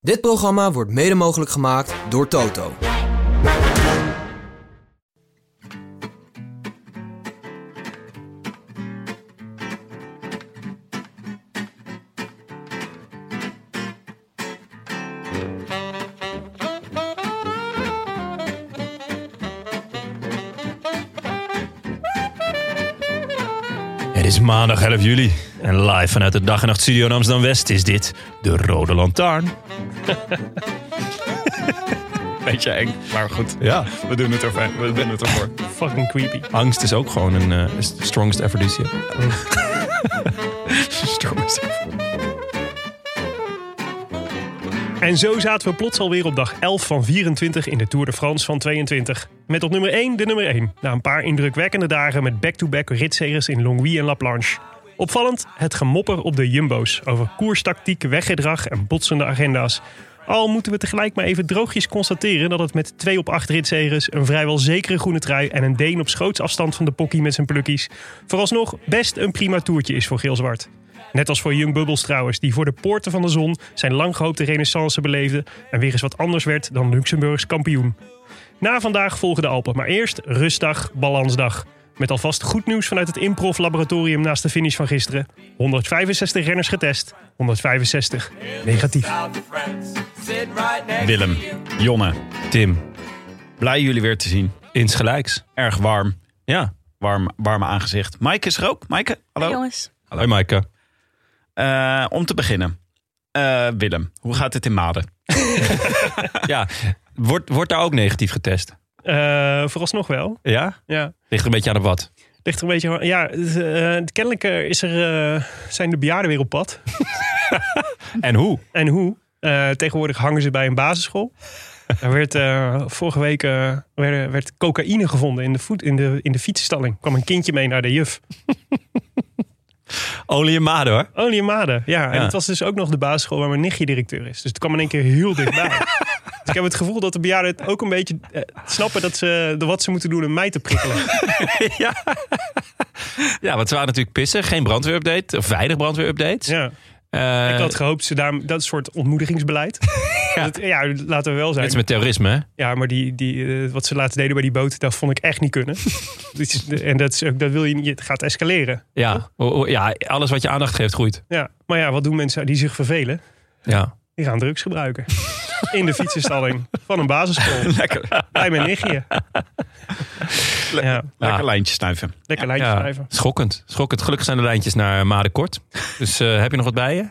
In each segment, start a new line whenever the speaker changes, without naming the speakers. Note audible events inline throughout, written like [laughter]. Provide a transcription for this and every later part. Dit programma wordt mede mogelijk gemaakt door Toto.
Het is maandag 11 juli en live vanuit de Dag en Nacht Studio in Amsterdam-West is dit de Rode Lantaarn.
[laughs] Beetje eng, maar goed.
Ja,
We doen het ervoor. We doen het ervoor.
Fucking creepy.
angst is ook gewoon een eh, is the strongest
[laughs]
aphrodisiac.
Stormers.
En zo zaten we plots alweer op dag 11 van 24 in de Tour de France van 22. Met op nummer 1 de nummer 1. Na een paar indrukwekkende dagen met back-to-back ritseries in Longwy en La Planche. Opvallend het gemopper op de jumbo's over koerstactiek, weggedrag en botsende agenda's. Al moeten we tegelijk maar even droogjes constateren dat het met 2 op 8 ritseries, een vrijwel zekere groene trui en een Deen op schootsafstand van de pokkie met zijn plukkies, vooralsnog best een prima toertje is voor geel-zwart. Net als voor Young Bubbles trouwens, die voor de poorten van de zon zijn lang gehoopte renaissance beleefde en weer eens wat anders werd dan Luxemburgs kampioen. Na vandaag volgen de Alpen, maar eerst rustdag, balansdag. Met alvast goed nieuws vanuit het improv-laboratorium naast de finish van gisteren. 165 renners getest, 165 negatief.
Willem, Jonne,
Tim,
blij jullie weer te zien.
insgelijks.
Erg warm.
Ja,
Warm, warm aangezicht. Maaike is er ook. Maaike,
Oh,
hallo.
Jongens,
hoi Maaike.
Eh, om te beginnen. Eh, Willem, hoe gaat het in Maden?
[laughs] Ja, wordt, wordt daar ook negatief getest?
Eh, vooralsnog wel,
Ja?
ja.
Ligt er een beetje aan de wat.
Ligt er een beetje... Ja, het, eh, kennelijk eh, is er, eh, zijn de bejaarden weer op pad.
En hoe?
En hoe? Eh, tegenwoordig hangen ze bij een basisschool. Er werd eh, vorige week eh, werd, werd cocaïne gevonden in de, voet, in, de, in de fietsenstalling. kwam een kindje mee naar de juf.
Olie en maden hoor.
Olie Made. Oh, Ja, en
Ja.
het was dus ook nog de basisschool waar mijn nichtje directeur is. Dus het kwam in één keer
[laughs]
heel dichtbij. dus ik heb het gevoel dat de bejaarden het ook een beetje eh, snappen dat ze, de- wat ze moeten doen om mij te
[laughs]
prikkelen.
Ja, want ze waren natuurlijk pissen. Geen brandweerupdate, of weinig brandweerupdates.
Ja.
Eh,
Ik had gehoopt ze daar dat soort ontmoedigingsbeleid.
[laughs] Ja.
Dat, ja, laten we wel zijn.
Net als met terrorisme, hè?
Ja, maar die, die, eh, wat ze laatst deden bij die boot, dat vond ik echt niet kunnen. Dit is- en dat, is, ook- dat wil je niet, het gaat escaleren.
Ja. O- o- ja, alles wat je aandacht geeft, groeit.
Ja. Maar ja, wat doen mensen die zich vervelen?
[laughs] Ja.
Die gaan drugs gebruiken. In de fietsenstalling van een basisschool.
Lekker,
Bij mijn nichtje. Ja,
lekker
Ja.
lijntje snuiven.
lekker lijntje
Ja,
schrijven.
Schokkend. Schokkend. Gelukkig zijn de lijntjes naar Maden kort. Dus eh, heb je nog wat bij je?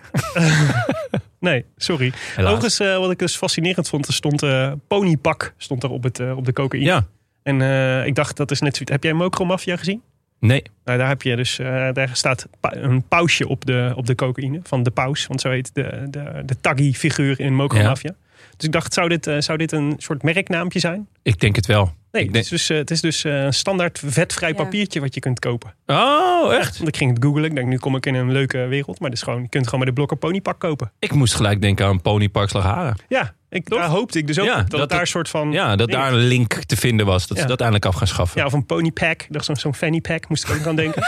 Nee, sorry.
Helaas.
Overigens, eh, wat ik dus fascinerend vond, er stond eh, ponypak stond daar op, het, eh, op de cocaïne.
Ja.
En eh, ik dacht, dat is net zoiets. Heb jij Mokro Mafia gezien?
Nee.
Nou, daar heb je dus, eh, daar staat pa- een pausje op de, op de cocaïne van de paus. Want zo heet de, de, de taggy-figuur in Mokro
Ja.
Mafia. Dus ik dacht, zou dit, eh, zou dit een soort merknaampje zijn?
Ik denk het wel.
Nee,
Ik
het
denk-
is dus, eh, het is dus eh, een standaard vetvrij
Ja.
papiertje wat je kunt kopen.
Oh, echt?
Want ik ging het googlen. Ik denk, nu kom ik in een leuke wereld. Maar dat is gewoon, je kunt gewoon met de blokker ponypak kopen.
Ik moest gelijk denken aan Ponypark Slagharen.
Ja, ik, daar hoopte ik dus ook
Ja,
op, dat,
dat
het daar
het-
een soort van...
Ja, dat
ding
daar
is.
een link te vinden was. Dat ze
Hm. Ja.
dat eindelijk af gaan schaffen.
Ja, of een ponypack. Dat is zo'n- zo'n fanny pack, moest ik ook aan denken.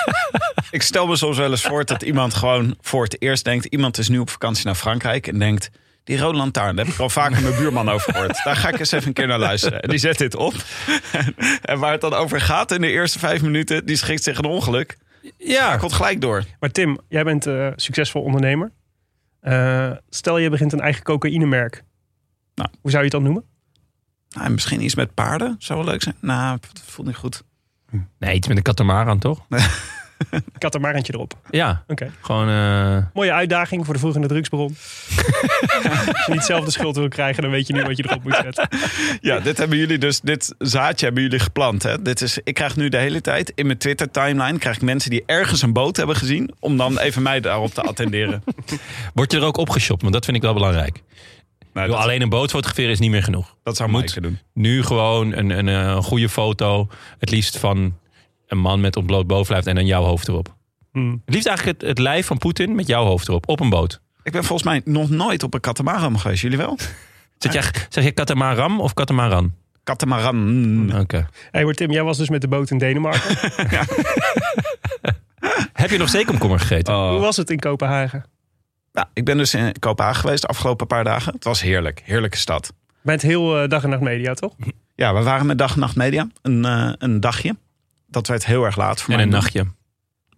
Ik stel me soms wel eens voor dat iemand gewoon voor het eerst denkt... iemand is nu op vakantie naar Frankrijk en denkt... die rode lantaarn, daar heb ik al vaker mijn buurman over gehoord. Daar ga ik eens even een keer naar luisteren. En die zet dit op. En waar het dan over gaat in de eerste vijf minuten... die schikt zich een ongeluk.
Ja.
Komt gelijk door.
Maar Tim, jij bent eh, succesvol ondernemer. Eh, stel je begint een eigen cocaïnemerk.
Nou.
Hoe zou je het dan noemen?
Nou, en misschien iets met paarden zou wel leuk zijn. Nou, dat voelt niet goed.
Nee, iets met een katamaran, toch?
Katamarantje erop.
Ja,
Oké.
gewoon... eh,
Mooie uitdaging voor de volgende
[laughs]
drugsbron. Als je niet zelf de schuld wil krijgen, dan weet je nu wat je erop moet zetten.
Ja, dit hebben jullie dus, dit zaadje hebben jullie geplant. Hè? Dit is, ik krijg nu de hele tijd in mijn Twitter-timeline krijg ik mensen die ergens een boot hebben gezien. om dan even mij daarop te attenderen.
Word je er ook opgeshopt? Want dat vind ik wel belangrijk.
Nou,
Ik bedoel,
dat,
alleen een boot fotograferen is niet meer genoeg.
dat zou
moet.
moeten doen.
Nu gewoon een, een, eh, goede foto. Het liefst van een man met ontbloot bovenlijf en dan jouw hoofd erop.
Hm.
Het liefst eigenlijk het, het lijf van Poetin met jouw hoofd erop. Op een boot.
Ik ben volgens mij nog nooit op een katamaran geweest.
[laughs]
Jullie wel?
Zeg je, zeg je katamaram of katamaran?
Katamaran.
Oké.
Hey, maar Tim, jij was dus met de boot in Denemarken.
Heb je nog zeekomkommer gegeten?
Oh.
Hoe was het in Kopenhagen?
Nou, ik ben dus in Kopenhagen geweest de afgelopen paar dagen. Het was heerlijk. Heerlijke stad.
Met heel eh, dag en nacht media, toch?
Ja, we waren met dag en nacht media. Een, eh, een dagje. Dat werd heel erg laat voor
en
mij.
een nachtje.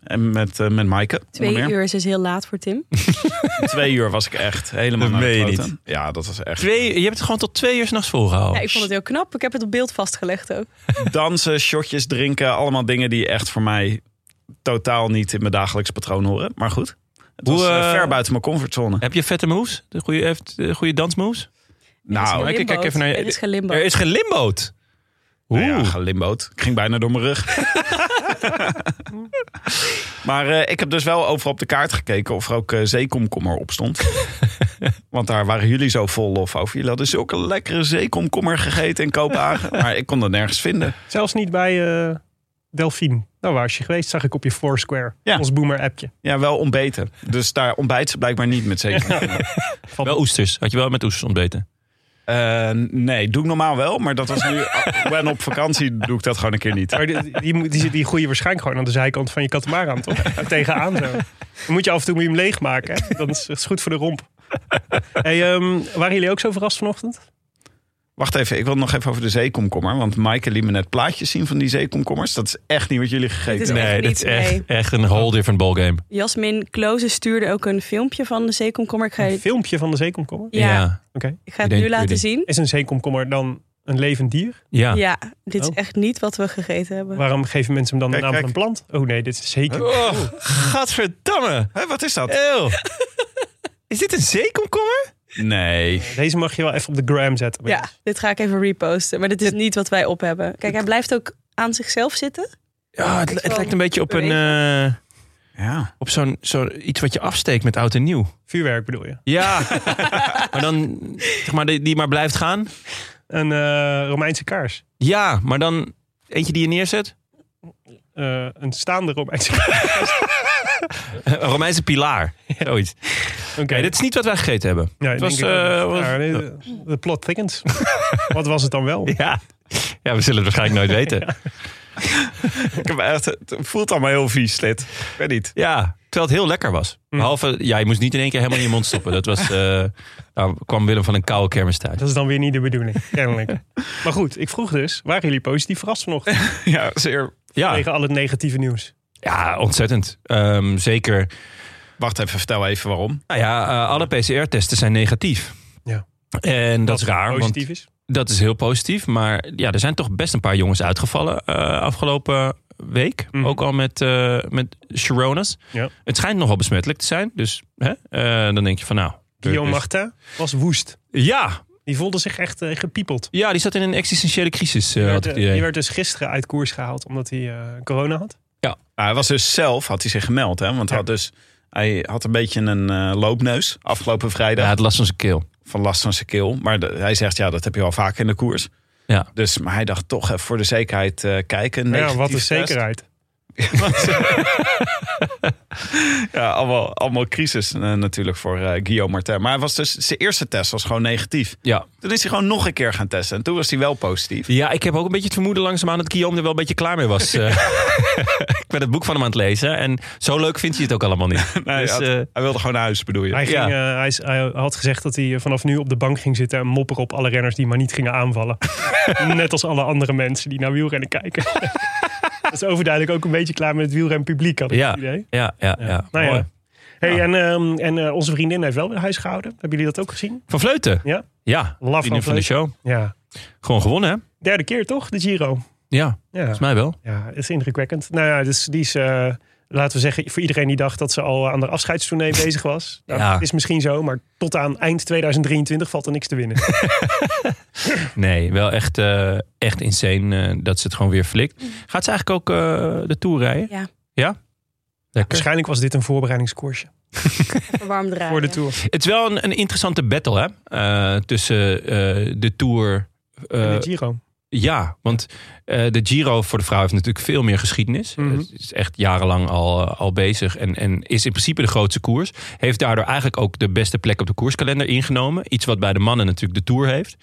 En met, eh, met Maaike. onder
Twee
meer.
uur is dus heel laat voor Tim.
Oh,
Twee uur was ik echt helemaal
Dat
naar de
meen je
kloten. Ja, dat was echt.
Twee, je hebt het gewoon tot twee uur s'nachts volgehouden.
Ja, ik vond het heel knap. Ik heb het op beeld vastgelegd ook.
Dansen, shotjes drinken. Allemaal dingen die echt voor mij totaal niet in mijn dagelijks patroon horen. Maar goed. Het
Hoe,
was eh,
eh,
ver buiten mijn comfortzone.
Heb je vette moves? De goede, heeft- de goede dansmoves?
Nou,
Gelimbo'd.
Ah, kijk, kijk even naar je-
Er is gelimbo.
Er is gelimboot. Oeh.
Nou ja, gelimboot. Ik ging bijna door mijn rug. maar eh, ik heb dus wel overal op de kaart gekeken of er ook eh, zeekomkommer op stond. Want daar waren jullie zo vol lof over. Jullie hadden zulke lekkere zeekomkommer gegeten in Kopenhagen. Maar ik kon dat nergens vinden.
Zelfs niet bij eh Delphine. Nou, waar is je geweest? Zag ik op je Foursquare.
Ja.
Ons boomer-appje.
Ja, wel ontbeten. Dus daar ontbijt ze blijkbaar niet met zeekomkommer.
Wel oesters. Had je wel met oesters ontbeten?
Eh, nee, doe ik normaal wel. Maar dat was nu... [laughs] Ik ben op vakantie, doe ik dat gewoon een keer niet.
Maar die, die, moet- die, die groeien waarschijnlijk gewoon aan de zijkant van je
[laughs]
katamaran, toch? Er Tegenaan zo. Dan moet je af en toe moet je hem leegmaken. Hè? Dan is het goed voor de romp. Hey, ehm, waren jullie ook zo verrast vanochtend?
Wacht even, ik wil nog even over de zeekomkommer. Want Maaike liet me net plaatjes zien van die zeekomkommers. Dat is echt niet wat jullie gegeten
is
hebben.
echt
Nee, dat is
niet,
echt,
nee.
echt een whole different ballgame.
Jasmin Kloze stuurde ook een filmpje van de zeekomkommer. Ik ga,
Een
je-
filmpje van de zeekomkommer?
ja,
Ja.
Oké.
ik ga
Ik
het nu
denk-
laten
ik
zien.
Is een zeekomkommer dan een levend dier?
Ja.
Ja, dit is
Oh.
echt niet wat we gegeten hebben.
Waarom geven mensen hem dan
Kijk,
de naam van
kijk.
een plant? Oh nee, dit is zeker.
Oh, gadverdamme.
Hé, wat is dat?
[laughs]
Eeuw. Is dit een zeekomkommer?
Nee.
Deze mag je wel even op de gram zetten. bij
Ja,
ons.
dit ga ik even reposten. Maar dit is niet wat wij op hebben. Kijk, hij blijft ook aan zichzelf zitten.
Ja, het,
Iets
het
van
lijkt een beetje op, een, eh,
Ja.
op zo'n, zo, iets wat je afsteekt met oud en nieuw.
Vuurwerk bedoel je?
[laughs] Ja. maar dan, zeg maar, die, die maar blijft gaan.
Een eh, Romeinse kaars.
Ja, maar dan eentje die je neerzet.
Eh, een staande Romeinse kaars.
Een Romeinse pilaar. [laughs] Zoiets. Oké,
Oké,
dit is niet wat wij gegeten hebben.
Ja,
Het
denk
was,
ik ook niet.
eh, was-
Ja, nee, de- de plot
[laughs]
thickens. Wat was het dan wel?
Ja. Ja, we zullen het waarschijnlijk nooit
[laughs]
weten.
Ik heb echt, het voelt allemaal heel vies, Mm. dit. Ik weet niet.
Ja, terwijl het heel lekker was. Behalve, ja, je moest niet in één keer helemaal in je mond stoppen. Dat was, eh, nou, kwam Willem van een koude kermis thuis.
Dat is dan weer niet de bedoeling, kennelijk. Maar goed, ik vroeg dus, waren jullie positief verrast vanochtend
Ja, zeer...
Ja,
tegen al het negatieve nieuws?
ja ontzettend. Ehm, zeker
Wacht even, vertel even waarom.
Nou ja, eh, alle PCR-testen zijn negatief.
Ja.
En dat is raar,
Positief
want
is?
dat is heel positief. Maar ja, er zijn toch best een paar jongens uitgevallen eh, afgelopen week.
Mhm.
Ook al met, eh met Sharonas.
Ja.
Het schijnt nogal besmettelijk te zijn. Dus hè, eh, dan denk je van nou...
Guillaume
dus-
Martin was woest.
Ja,
Die voelde zich echt eh, gepiepeld.
ja, die zat in een existentiële crisis, eh, had
Die werd,
ik het
eh,
idee.
die werd dus gisteren uit koers gehaald omdat hij eh, corona had.
Nou, hij was dus zelf, had hij zich gemeld, hè? Want hij, had dus, hij had een beetje een eh, loopneus afgelopen vrijdag.
Ja, het last van zijn keel.
Van last van zijn keel. Maar de- hij zegt, ja, dat heb je al vaak in de koers.
Ja.
Dus, maar hij dacht toch even voor de zekerheid eh, kijken.
Maar ja, wat
Negatief
is
test. [laughs]
zekerheid?
eh, Ja, allemaal, allemaal crisis eh, natuurlijk voor eh, Guillaume Martin. Maar hij was dus, zijn eerste test was gewoon negatief.
Ja.
Toen is hij gewoon nog een keer gaan testen. En toen was hij wel positief.
ja, ik heb ook een beetje het vermoeden langzaamaan dat Guillaume er wel een beetje klaar mee was.
[laughs]
eh. [laughs] ik ben het boek van hem aan het lezen. En zo leuk vindt hij het ook allemaal
[laughs]
niet.
[laughs] Nee,
Dus,
hij, had-
eh,
hij wilde gewoon naar huis, bedoel je?
Hij, ging,
Ja.
eh, hij, is- hij had gezegd dat hij eh, vanaf nu op de bank ging zitten en mopperen op alle renners die maar niet gingen
[laughs]
aanvallen. Net als alle andere mensen die naar wielrennen kijken. dat is overduidelijk ook een beetje klaar met het wielrenpubliek, had ik
Ja.
het idee.
Ja, ja, ja.
Nou ja.
Mooi.
Hey, En, ehm, en eh, onze vriendin heeft wel weer huis gehouden. Hebben jullie dat ook gezien?
Van Vleuten?
Ja.
Ja,
Laf
vriendin van de show.
Ja.
Gewoon gewonnen, hè?
Derde keer toch, de Giro?
Ja,
Ja,
volgens mij wel.
ja het is indrukwekkend. Nou ja, dus die is eh, laten we zeggen, voor iedereen die dacht dat ze al aan de
[laughs]
afscheidstournee bezig was. Nou,
Ja.
het is misschien zo, maar tot aan eind 2023 valt er niks te
[laughs]
winnen.
Nee, wel echt, eh, echt insane eh, dat ze het gewoon weer flikt. Gaat ze eigenlijk ook eh, de Tour rijden?
Ja.
Ja? Lekker.
Waarschijnlijk was dit een voorbereidingskoersje
Even warm draaien.
voor de Tour.
Het is wel een, een interessante battle hè? eh, tussen eh, de Tour... eh,
en de Giro.
Ja, want eh, de Giro voor de vrouw heeft natuurlijk veel meer geschiedenis.
Mhm.
Het is echt jarenlang al, eh, al bezig en, en is in principe de grootste koers. Heeft daardoor eigenlijk ook de beste plek op de koerskalender ingenomen. Iets wat bij de mannen natuurlijk de Tour heeft.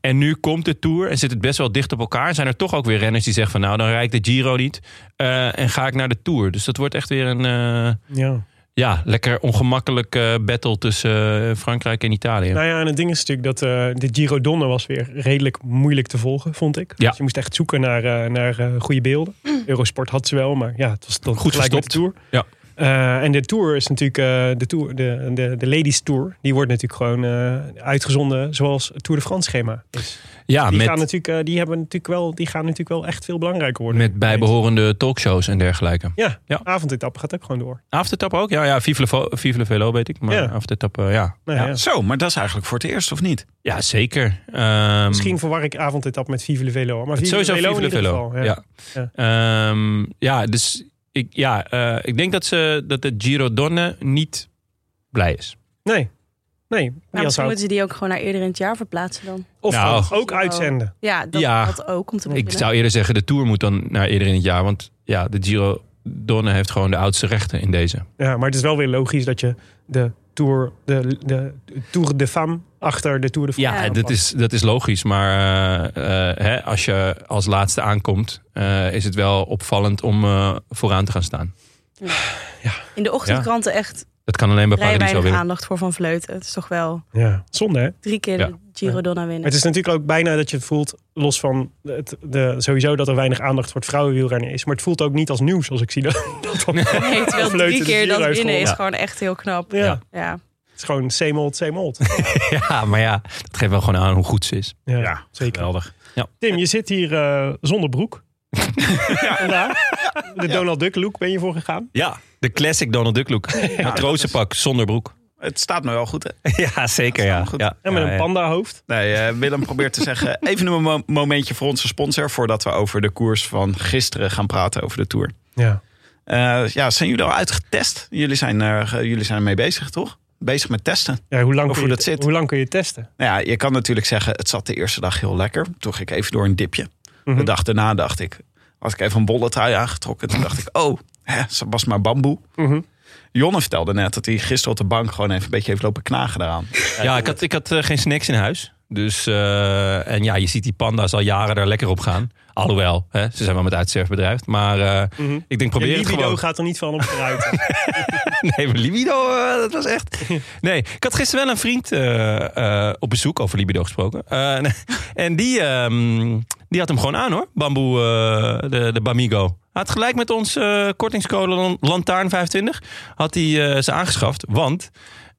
En nu komt de Tour en zit het best wel dicht op elkaar. Zijn er toch ook weer renners die zeggen van nou, dan rijd ik de Giro niet. eh, en ga ik naar de Tour. Dus dat wordt echt weer een eh,
Ja.
ja, lekker ongemakkelijk eh, battle tussen eh, Frankrijk en Italië.
Nou ja, en het ding is natuurlijk dat eh, de Giro Donne was weer redelijk moeilijk te volgen, vond ik.
Ja. Mm.
Dus je moest echt zoeken naar, eh, naar eh, goede beelden. Eurosport had ze wel, maar ja, het was toch
Goed
gelijk met de Tour.
verstopt. Ja.
Eh, en de Tour is natuurlijk eh, de, tour, de, de, de Ladies Tour. Die wordt natuurlijk gewoon eh, uitgezonden zoals het Tour de France schema is.
ja,
Die,
Ah, met,
gaan natuurlijk, eh, die, hebben natuurlijk wel, die gaan natuurlijk wel echt veel belangrijker worden.
met bijbehorende talkshows en dergelijke.
Ja,
Ja.
avondetappe gaat ook gewoon door.
Aftetappen ook? Ja, ja Vive, le Vo- Vive le Velo weet ik. Maar
Ja.
ja. aftetappen, ja. ja.
Nou,
dus, ehm,
ja.
Zo, maar dat is eigenlijk voor het eerst, of niet?
Ja, zeker. Ehm,
Misschien verwar ik avondetappe met Vive le Velo. Maar
het
Vive le
sowieso
Velo
Vive
in
le
ieder
Velo.
geval.
ja. Ja. Ehm, ja, dus ik, ja, eh, ik denk dat, ze, dat de Giro Donne niet blij is.
Nee, nee. die
Maar
had ze
Nou, misschien
ook.
moeten ze die ook gewoon naar eerder in het jaar verplaatsen dan.
Of
Nou.
gewoon ook uitzenden.
Ja, dat,
Ja.
dat ook om te
Ik
beginnen.
zou eerder zeggen, de Tour moet dan naar eerder in het jaar. Want ja, de Giro Donne heeft gewoon de oudste rechten in deze.
Ja, maar het is wel weer logisch dat je de Tour de, de, tour de Femme achter de Tour de France
Ja,
Ja.
dat is, dat is logisch. Maar eh, eh, hè, als je als laatste aankomt, eh, is het wel opvallend om eh, vooraan te gaan staan.
In de ochtendkranten echt
Dat kan alleen bij
rij
Paradiso
weinig
weer.
aandacht voor Van Vleuten. Het is toch wel
Ja. Zonde, hè?
drie keer
Ja.
de Giro Donna
Maar
winnen.
het is natuurlijk ook bijna dat je voelt, los van het, de, sowieso dat er weinig aandacht voor het vrouwenwielrennen is. Maar het voelt ook niet als nieuws als ik zie dat. [laughs] dat dan-
Nee, terwijl
Vleuten
drie
de
keer
Giro
dat
heeft
winnen is
gewonnen.
gewoon echt heel knap.
Ja.
Ja.
Ja.
Het is gewoon same old, same old.
[laughs] Ja, Ah, maar ja, dat geeft wel gewoon aan hoe goed ze is.
Ja,
zeker. Geweldig.
Tim, je zit hier eh, zonder broek. Vandaag. De Donald Duck look ben je voor gegaan.
Ja, de classic Donald Duck [laughs] look. Een matrozenpak zonder broek.
Het staat me wel goed, hè?
[laughs] Ja, zeker
ja.
ja.
En met een panda hoofd.
Nee, eh, Willem probeert te zeggen... [laughs] even een mo- momentje voor onze sponsor... voordat we over de koers van gisteren gaan praten over de Tour.
Ja.
Eh, ja, zijn jullie al uitgetest? Jullie zijn, er, eh, jullie zijn ermee bezig, toch? Bezig met testen.
ja hoe, lang
Of
kun
hoe
je,
dat zit.
hoe lang kun je testen?
Nou ja, je kan natuurlijk zeggen, het zat de eerste dag heel lekker. Toen ging ik even door een dipje.
Mhm.
De dag daarna dacht ik, had ik even een bolle trui aangetrokken. Toen dacht ik, oh, hè, ze was maar bamboe.
Mhm.
Jonne vertelde net dat hij gisteren op de bank gewoon even een beetje heeft lopen knagen daaraan.
Ja, ik had, ik had eh, geen snacks in huis. Dus, eh, en ja, je ziet die panda's al jaren daar lekker op gaan. Alhoewel, hè, ze zijn wel met uitsterfbedrijf. Maar eh,
Mhm.
ik denk, probeer
Je
het
libido
gewoon.
gaat er niet van op vooruit.
[laughs] Nee, maar libido, eh, dat was echt... [laughs] Nee, ik had gisteren wel een vriend eh, eh, op bezoek, over libido gesproken. Eh, [laughs] en die, ehm, die had hem gewoon aan hoor, bamboe, eh, de, de Bamigo. Hij had gelijk met ons eh, kortingscode Lan- Lantaarn 25, had hij eh, ze aangeschaft. Want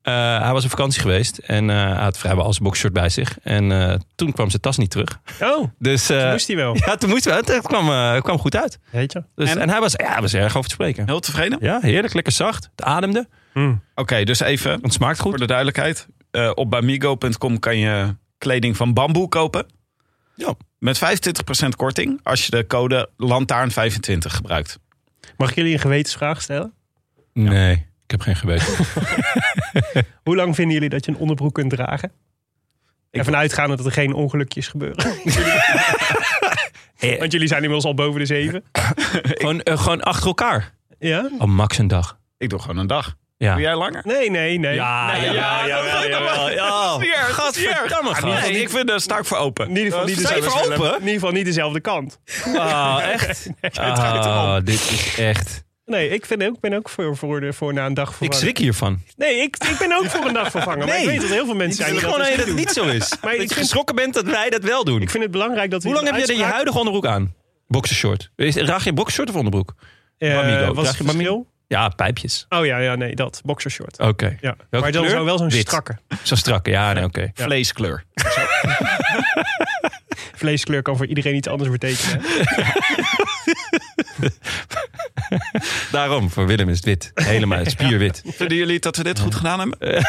eh, hij was op vakantie geweest en eh, hij had vrijwel al zijn boxshirt bij zich. En eh, toen kwam zijn tas niet terug.
Oh,
Dus eh,
dat moest hij wel.
[laughs] ja, toen moest wel. Het kwam, eh, kwam goed uit.
Weet je?
Dus, en
En?
hij, was, ja, hij was erg over te spreken.
Heel tevreden? Oké,
Ja, heerlijk, lekker zacht. Het ademde, Hmm.
dus even
het smaakt goed.
voor de duidelijkheid. Eh, op bamigo.com kan je kleding van bamboe kopen.
Ja.
Met 25% korting als je de code lantaarn25 gebruikt.
Mag ik jullie een gewetensvraag stellen?
Nee, ik heb geen geweten.
Hoe lang vinden jullie dat je een onderbroek kunt dragen?
Ik-
Ervan uitgaande dat er geen ongelukjes gebeuren.
[laughs]
[laughs]
Eh.
Want jullie zijn inmiddels al boven de zeven.
gewoon, eh, gewoon achter elkaar.
Ja?
Oh, max een dag.
[laughs] Ik doe gewoon een dag.
Ja.
Doe jij langer?
Nee, nee, nee.
Ja,
Nee,
ja,
jawel, jawel.
ja. Gadverdamme, gast.
Nee, ik vind, daar sta ik voor open.
In ieder geval niet
Sta je
dezelfde-
voor
in
open?
ieder geval niet dezelfde
[laughs] [laughs]
kant.
Ah, [laughs] echt? Ah, dit is echt...
Nee, ik vind ook, ben ook voor, voor, de, voor na een dag
Ik
vervangen.
schrik hiervan.
Nee, ik, ik ben ook voor een dag vervangen. Maar
Nee.
ik weet dat heel veel mensen
Ik
zijn
vind
die
gewoon dat je
dus
dat het
doen.
niet zo is.
[laughs] Maar
dat
ik
je
vind-
geschrokken bent dat wij dat wel doen.
Ik vind het belangrijk dat...
Hoe lang heb je je huidige onderbroek aan? Boxershort. Is- Draag je boxershort of onderbroek? Bamigo?
Eh, was
Draag je Bamigo? Ja, pijpjes.
Oh ja, ja, nee, dat. Boxershort.
Oké.
Ja.
Welke
maar dan
kleur?
zou wel zo'n
Wit.
strakke
Zo strak. Ja, nee, oké.
Vleeskleur.
vleeskleur
[laughs]
kan voor iedereen iets anders betekenen. hè?
Daarom, voor Willem is het wit. Helemaal [laughs] spierwit.
Vinden jullie dat we dit goed gedaan hebben?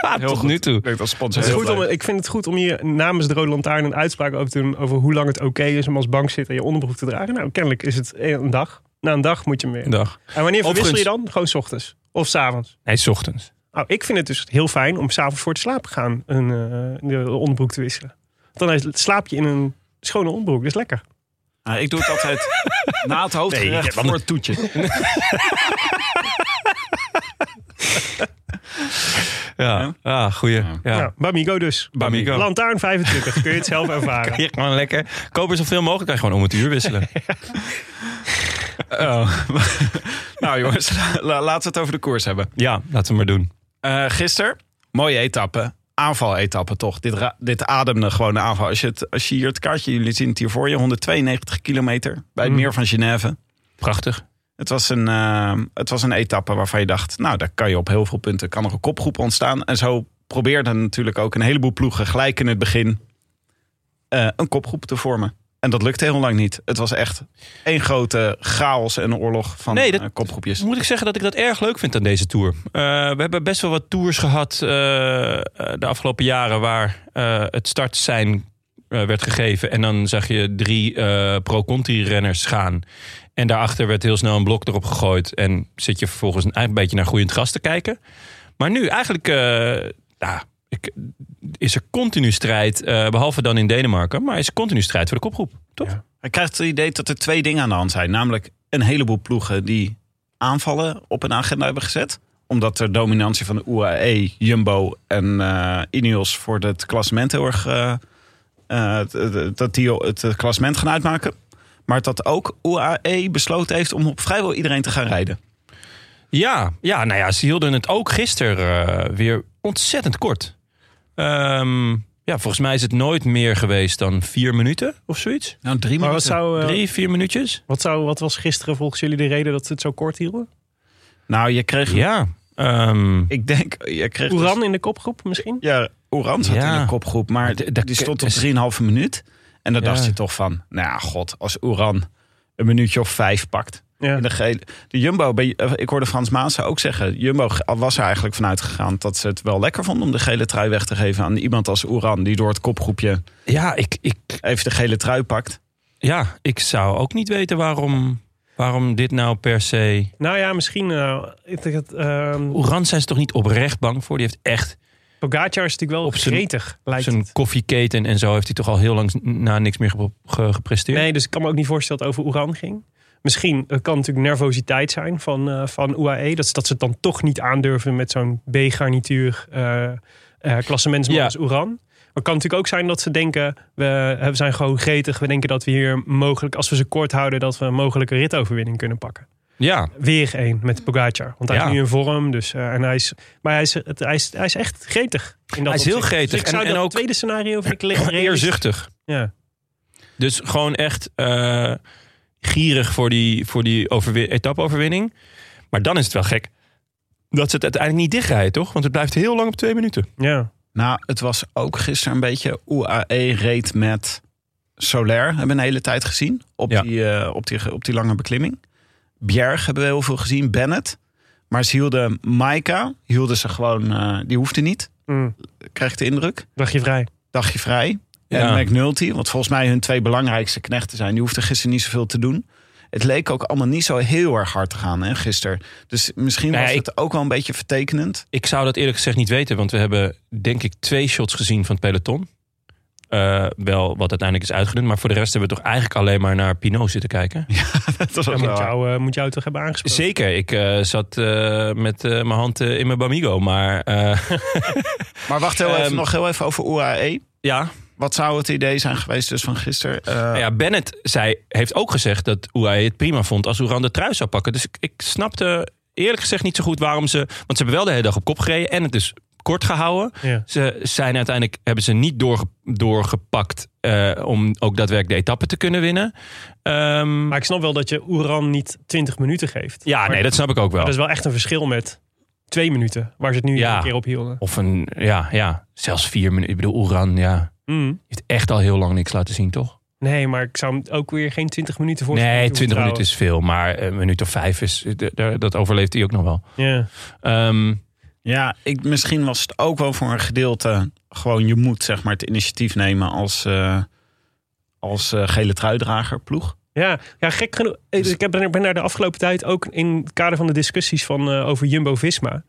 Ah, tot nu toe.
Ik denk dat sponsor
Het is
heel
goed om,
blij
ik vind het goed om hier namens de Rode Lantaarn een uitspraak over te doen... over hoe lang het oké is om als bank zitten je onderbroek te dragen. Nou, kennelijk is het een dag. Na een dag moet je hem weer.
Dag.
En wanneer verwissel je
Overigens-
dan? Gewoon 's ochtends. Of 's avonds.
Nee, 's ochtends.
Nou, ik vind het dus heel fijn om s'avonds voor het slapen gaan een eh, de onderbroek te wisselen. Dan is- slaap je in een schone onderbroek. Dat is lekker.
Nou, ik doe het
[laughs]
altijd na het [laughs] hoofdgerecht voor het toetje.
Ja, ja goeie. Ja.
Nou, Bamigo dus.
Bamigo.
Lantaarn 25. Kun je het
[laughs]
zelf ervaren.
Hier gewoon lekker. Kopen zoveel mogelijk. Kan je gewoon om het uur wisselen.
Oh. nou jongens, [laughs] la- laten we het over de koers hebben.
Ja, laten we maar doen.
Eh gisteren, mooie etappe. Aanvaletappe toch? Dit, ra- dit ademde gewoon de aanval. Als je, het, als je hier het kaartje, jullie zien het hier voor je, 192 kilometer bij het meer van Genève.
Mm. Prachtig.
Het was, een, eh, het was een etappe waarvan je dacht, nou daar kan je op heel veel punten, kan nog een kopgroep ontstaan. En zo probeerden natuurlijk ook een heleboel ploegen gelijk in het begin eh, een kopgroep te vormen. En dat lukte heel lang niet. Het was echt één grote chaos en oorlog van
Nee, dat-
eh, kopgroepjes.
Moet ik zeggen dat ik dat erg leuk vind aan deze tour. Eh, we hebben best wel wat tours gehad eh, eh, de afgelopen jaren waar eh, het startsein eh, werd gegeven. En dan zag je drie eh, pro-conti-renners gaan. En daarachter werd heel snel een blok erop gegooid. En zit je vervolgens een, een beetje naar groeiend gras te kijken. Maar nu eigenlijk eh, ja, ik, is er continu strijd. eh, behalve dan in Denemarken. Maar is er continu strijd voor de kopgroep. Toch?
Ja.
Hij krijgt het idee dat er twee dingen aan de hand zijn. Namelijk een heleboel ploegen die aanvallen op een agenda hebben gezet. Omdat de dominantie van de UAE, Jumbo en eh Ineos voor het klassement heel erg... eh, eh, t- t- dat die het eh, klassement gaan uitmaken. Maar dat ook UAE besloten heeft om op vrijwel iedereen te gaan rijden.
Ja, ja, nou ja, ze hielden het ook gisteren eh, weer ontzettend kort. Ehm, ja, volgens mij is het nooit meer geweest dan vier minuten of zoiets.
Nou, drie
Maar wat zou, eh,
Drie, vier minuutjes.
wat, zou, wat was gisteren volgens jullie de reden dat ze het zo kort hielden?
Nou, je kreeg...
Ja. ehm,
Ik denk, je kreeg... dus-
Oeran in de kopgroep misschien?
Ja, Oran zat
Ja.
in de kopgroep, maar
Maar d-
die
dat-
stond op
is-
3,5 minuut. En dan
Ja.
dacht je toch van, nou ja, god, als Oran een minuutje of vijf pakt.
Ja.
In de, gele, de Jumbo, bij, eh, ik hoorde Frans Maassen ook zeggen, Jumbo g- was er eigenlijk vanuit gegaan dat ze het wel lekker vonden om de gele trui weg te geven aan iemand als Oran, die door het kopgroepje
ja, ik, ik,
even de gele trui pakt.
ja, ik zou ook niet weten waarom, waarom dit nou per se...
Nou ja, misschien... eh, ik denk dat, ehm
Oeran zijn ze toch niet oprecht bang voor? Die heeft echt
Pogacar is natuurlijk wel
Op zijn-
gretig, lijkt
zijn
het.
koffieketen en zo... heeft hij toch al heel lang na niks meer gep- ge- gepresteerd?
Nee, dus ik kan me ook niet voorstellen dat het over Oeran ging. Misschien eh, kan natuurlijk nervositeit zijn van, eh, van UAE. Dat, ze- dat ze het dan toch niet aandurven met zo'n B-garnituur eh eh, klassementsman
Ja.
als Oeran. Maar het kan natuurlijk ook zijn dat ze denken, we, eh, we zijn gewoon gretig. We denken dat we hier mogelijk, als we ze kort houden, dat we een mogelijke ritoverwinning kunnen pakken.
Ja,
Weer één met Pogacar. Want hij
Ja.
is nu in vorm. Dus, eh, en hij is, maar hij is, het, hij, is, hij is echt gretig. In dat
Hij is heel
opzicht. Dus
gretig.
ik zou
En- en
dat
ook-
tweede scenario vind
[clears throat]
ik licht realistisch.
eerzuchtig.
Ja.
Dus gewoon echt eh, gierig voor die, voor die overwi- etappe-overwinning. Maar dan is het wel gek dat ze het uiteindelijk niet dichtrijden, toch? Want het blijft heel lang op twee minuten.
Ja,
Nou, het was ook gisteren een beetje UAE reed met Soler. Hebben we een hele tijd gezien op,
Ja.
die, eh, op, die, op die lange beklimming. Bjerg hebben we heel veel gezien, Bennett. Maar ze hielden Maika, hielden ze gewoon, eh, die hoefde niet,
mm,
krijg ik de indruk.
dagje vrij.
Dagje vrij.
Ja.
En McNulty, want volgens mij hun twee belangrijkste knechten zijn, die hoefden gisteren niet zoveel te doen. Het leek ook allemaal niet zo heel erg hard te gaan hè, gisteren. Dus misschien
Nee,
was
ik-
het ook wel een beetje vertekenend. [laughs]
Ik zou dat eerlijk gezegd niet weten, want we hebben denk ik twee shots gezien van het peloton. Eh, wel wat uiteindelijk is uitgedund, maar voor de rest hebben we toch eigenlijk alleen maar naar Pinot zitten kijken.
Dat was
Dan
wel-
moet jou, eh, moet jou toch hebben aangesproken.
Zeker, ik eh, zat eh, met eh, mijn hand eh, in mijn Bamigo, maar eh, [laughs]
Maar wacht heel even,
Ehm,
nog heel even over E. UAE.
ja,
Wat zou het idee zijn geweest dus van gisteren? Eh,
Nou ja, Bennett zei, heeft ook gezegd dat UAE het prima vond als Oeran de trui zou pakken. Dus ik, ik snapte eerlijk gezegd niet zo goed waarom ze... Want ze hebben wel de hele dag op kop gereden en het is kort gehouden.
Ja.
Ze zijn uiteindelijk, hebben ze niet doorge, doorgepakt eh, om ook daadwerkelijk de etappe te kunnen winnen. Ehm,
Maar ik snap wel dat je Oeran niet 20 minuten geeft.
ja,
Maar
nee, dat snap ik ook wel.
dat is wel echt een verschil met twee minuten, waar ze het nu
Ja.
een keer op hielden.
Of een, ja, ja, zelfs vier minuten. Ik bedoel, Oeran, ja,
Mm.
heeft echt al heel lang niks laten zien, toch?
Nee, maar ik zou hem ook weer geen 20 minuten voor.
Nee, 20 minuten is veel. Maar een minuut of vijf is. d- d- Dat overleeft hij ook nog wel.
Ja.
Ehm,
Ja, ik, misschien was het ook wel voor een gedeelte gewoon je moet zeg maar het initiatief nemen als, eh, als eh, gele truidrager ploeg.
Ja, ja, gek genoeg. eh, Dus ik heb- ben, ben daar de afgelopen tijd ook in het kader van de discussies van, eh, over Jumbo-Visma.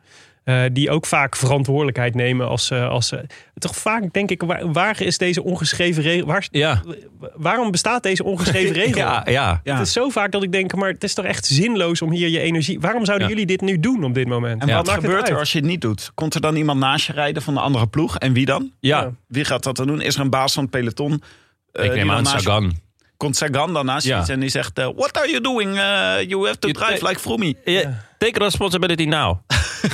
eh, die ook vaak verantwoordelijkheid nemen als... eh, als eh, toch vaak denk ik, waar, waar is deze ongeschreven regel... Waar,
ja.
waarom bestaat deze ongeschreven regel?
[laughs] ja, ja.
Ja.
Het is zo vaak dat ik denk, maar het is toch echt zinloos om hier je energie... Waarom zouden
Ja.
jullie dit nu doen op dit moment?
En wat
maakt het
gebeurt er
uit?
als je het niet doet? Komt er dan iemand naast je rijden van de andere ploeg? En wie dan?
Ja,
Ja.
Wie gaat dat dan doen? Is er een baas van het peloton? eh,
ik
die
neem
dan
aan
naast je-
Sagan.
Komt Sagan dan naast je
Ja.
zitten en die zegt... eh, What are you doing? Eh, you have to
Je-
drive like Frommie.
Ja. Take responsibility now.
[laughs]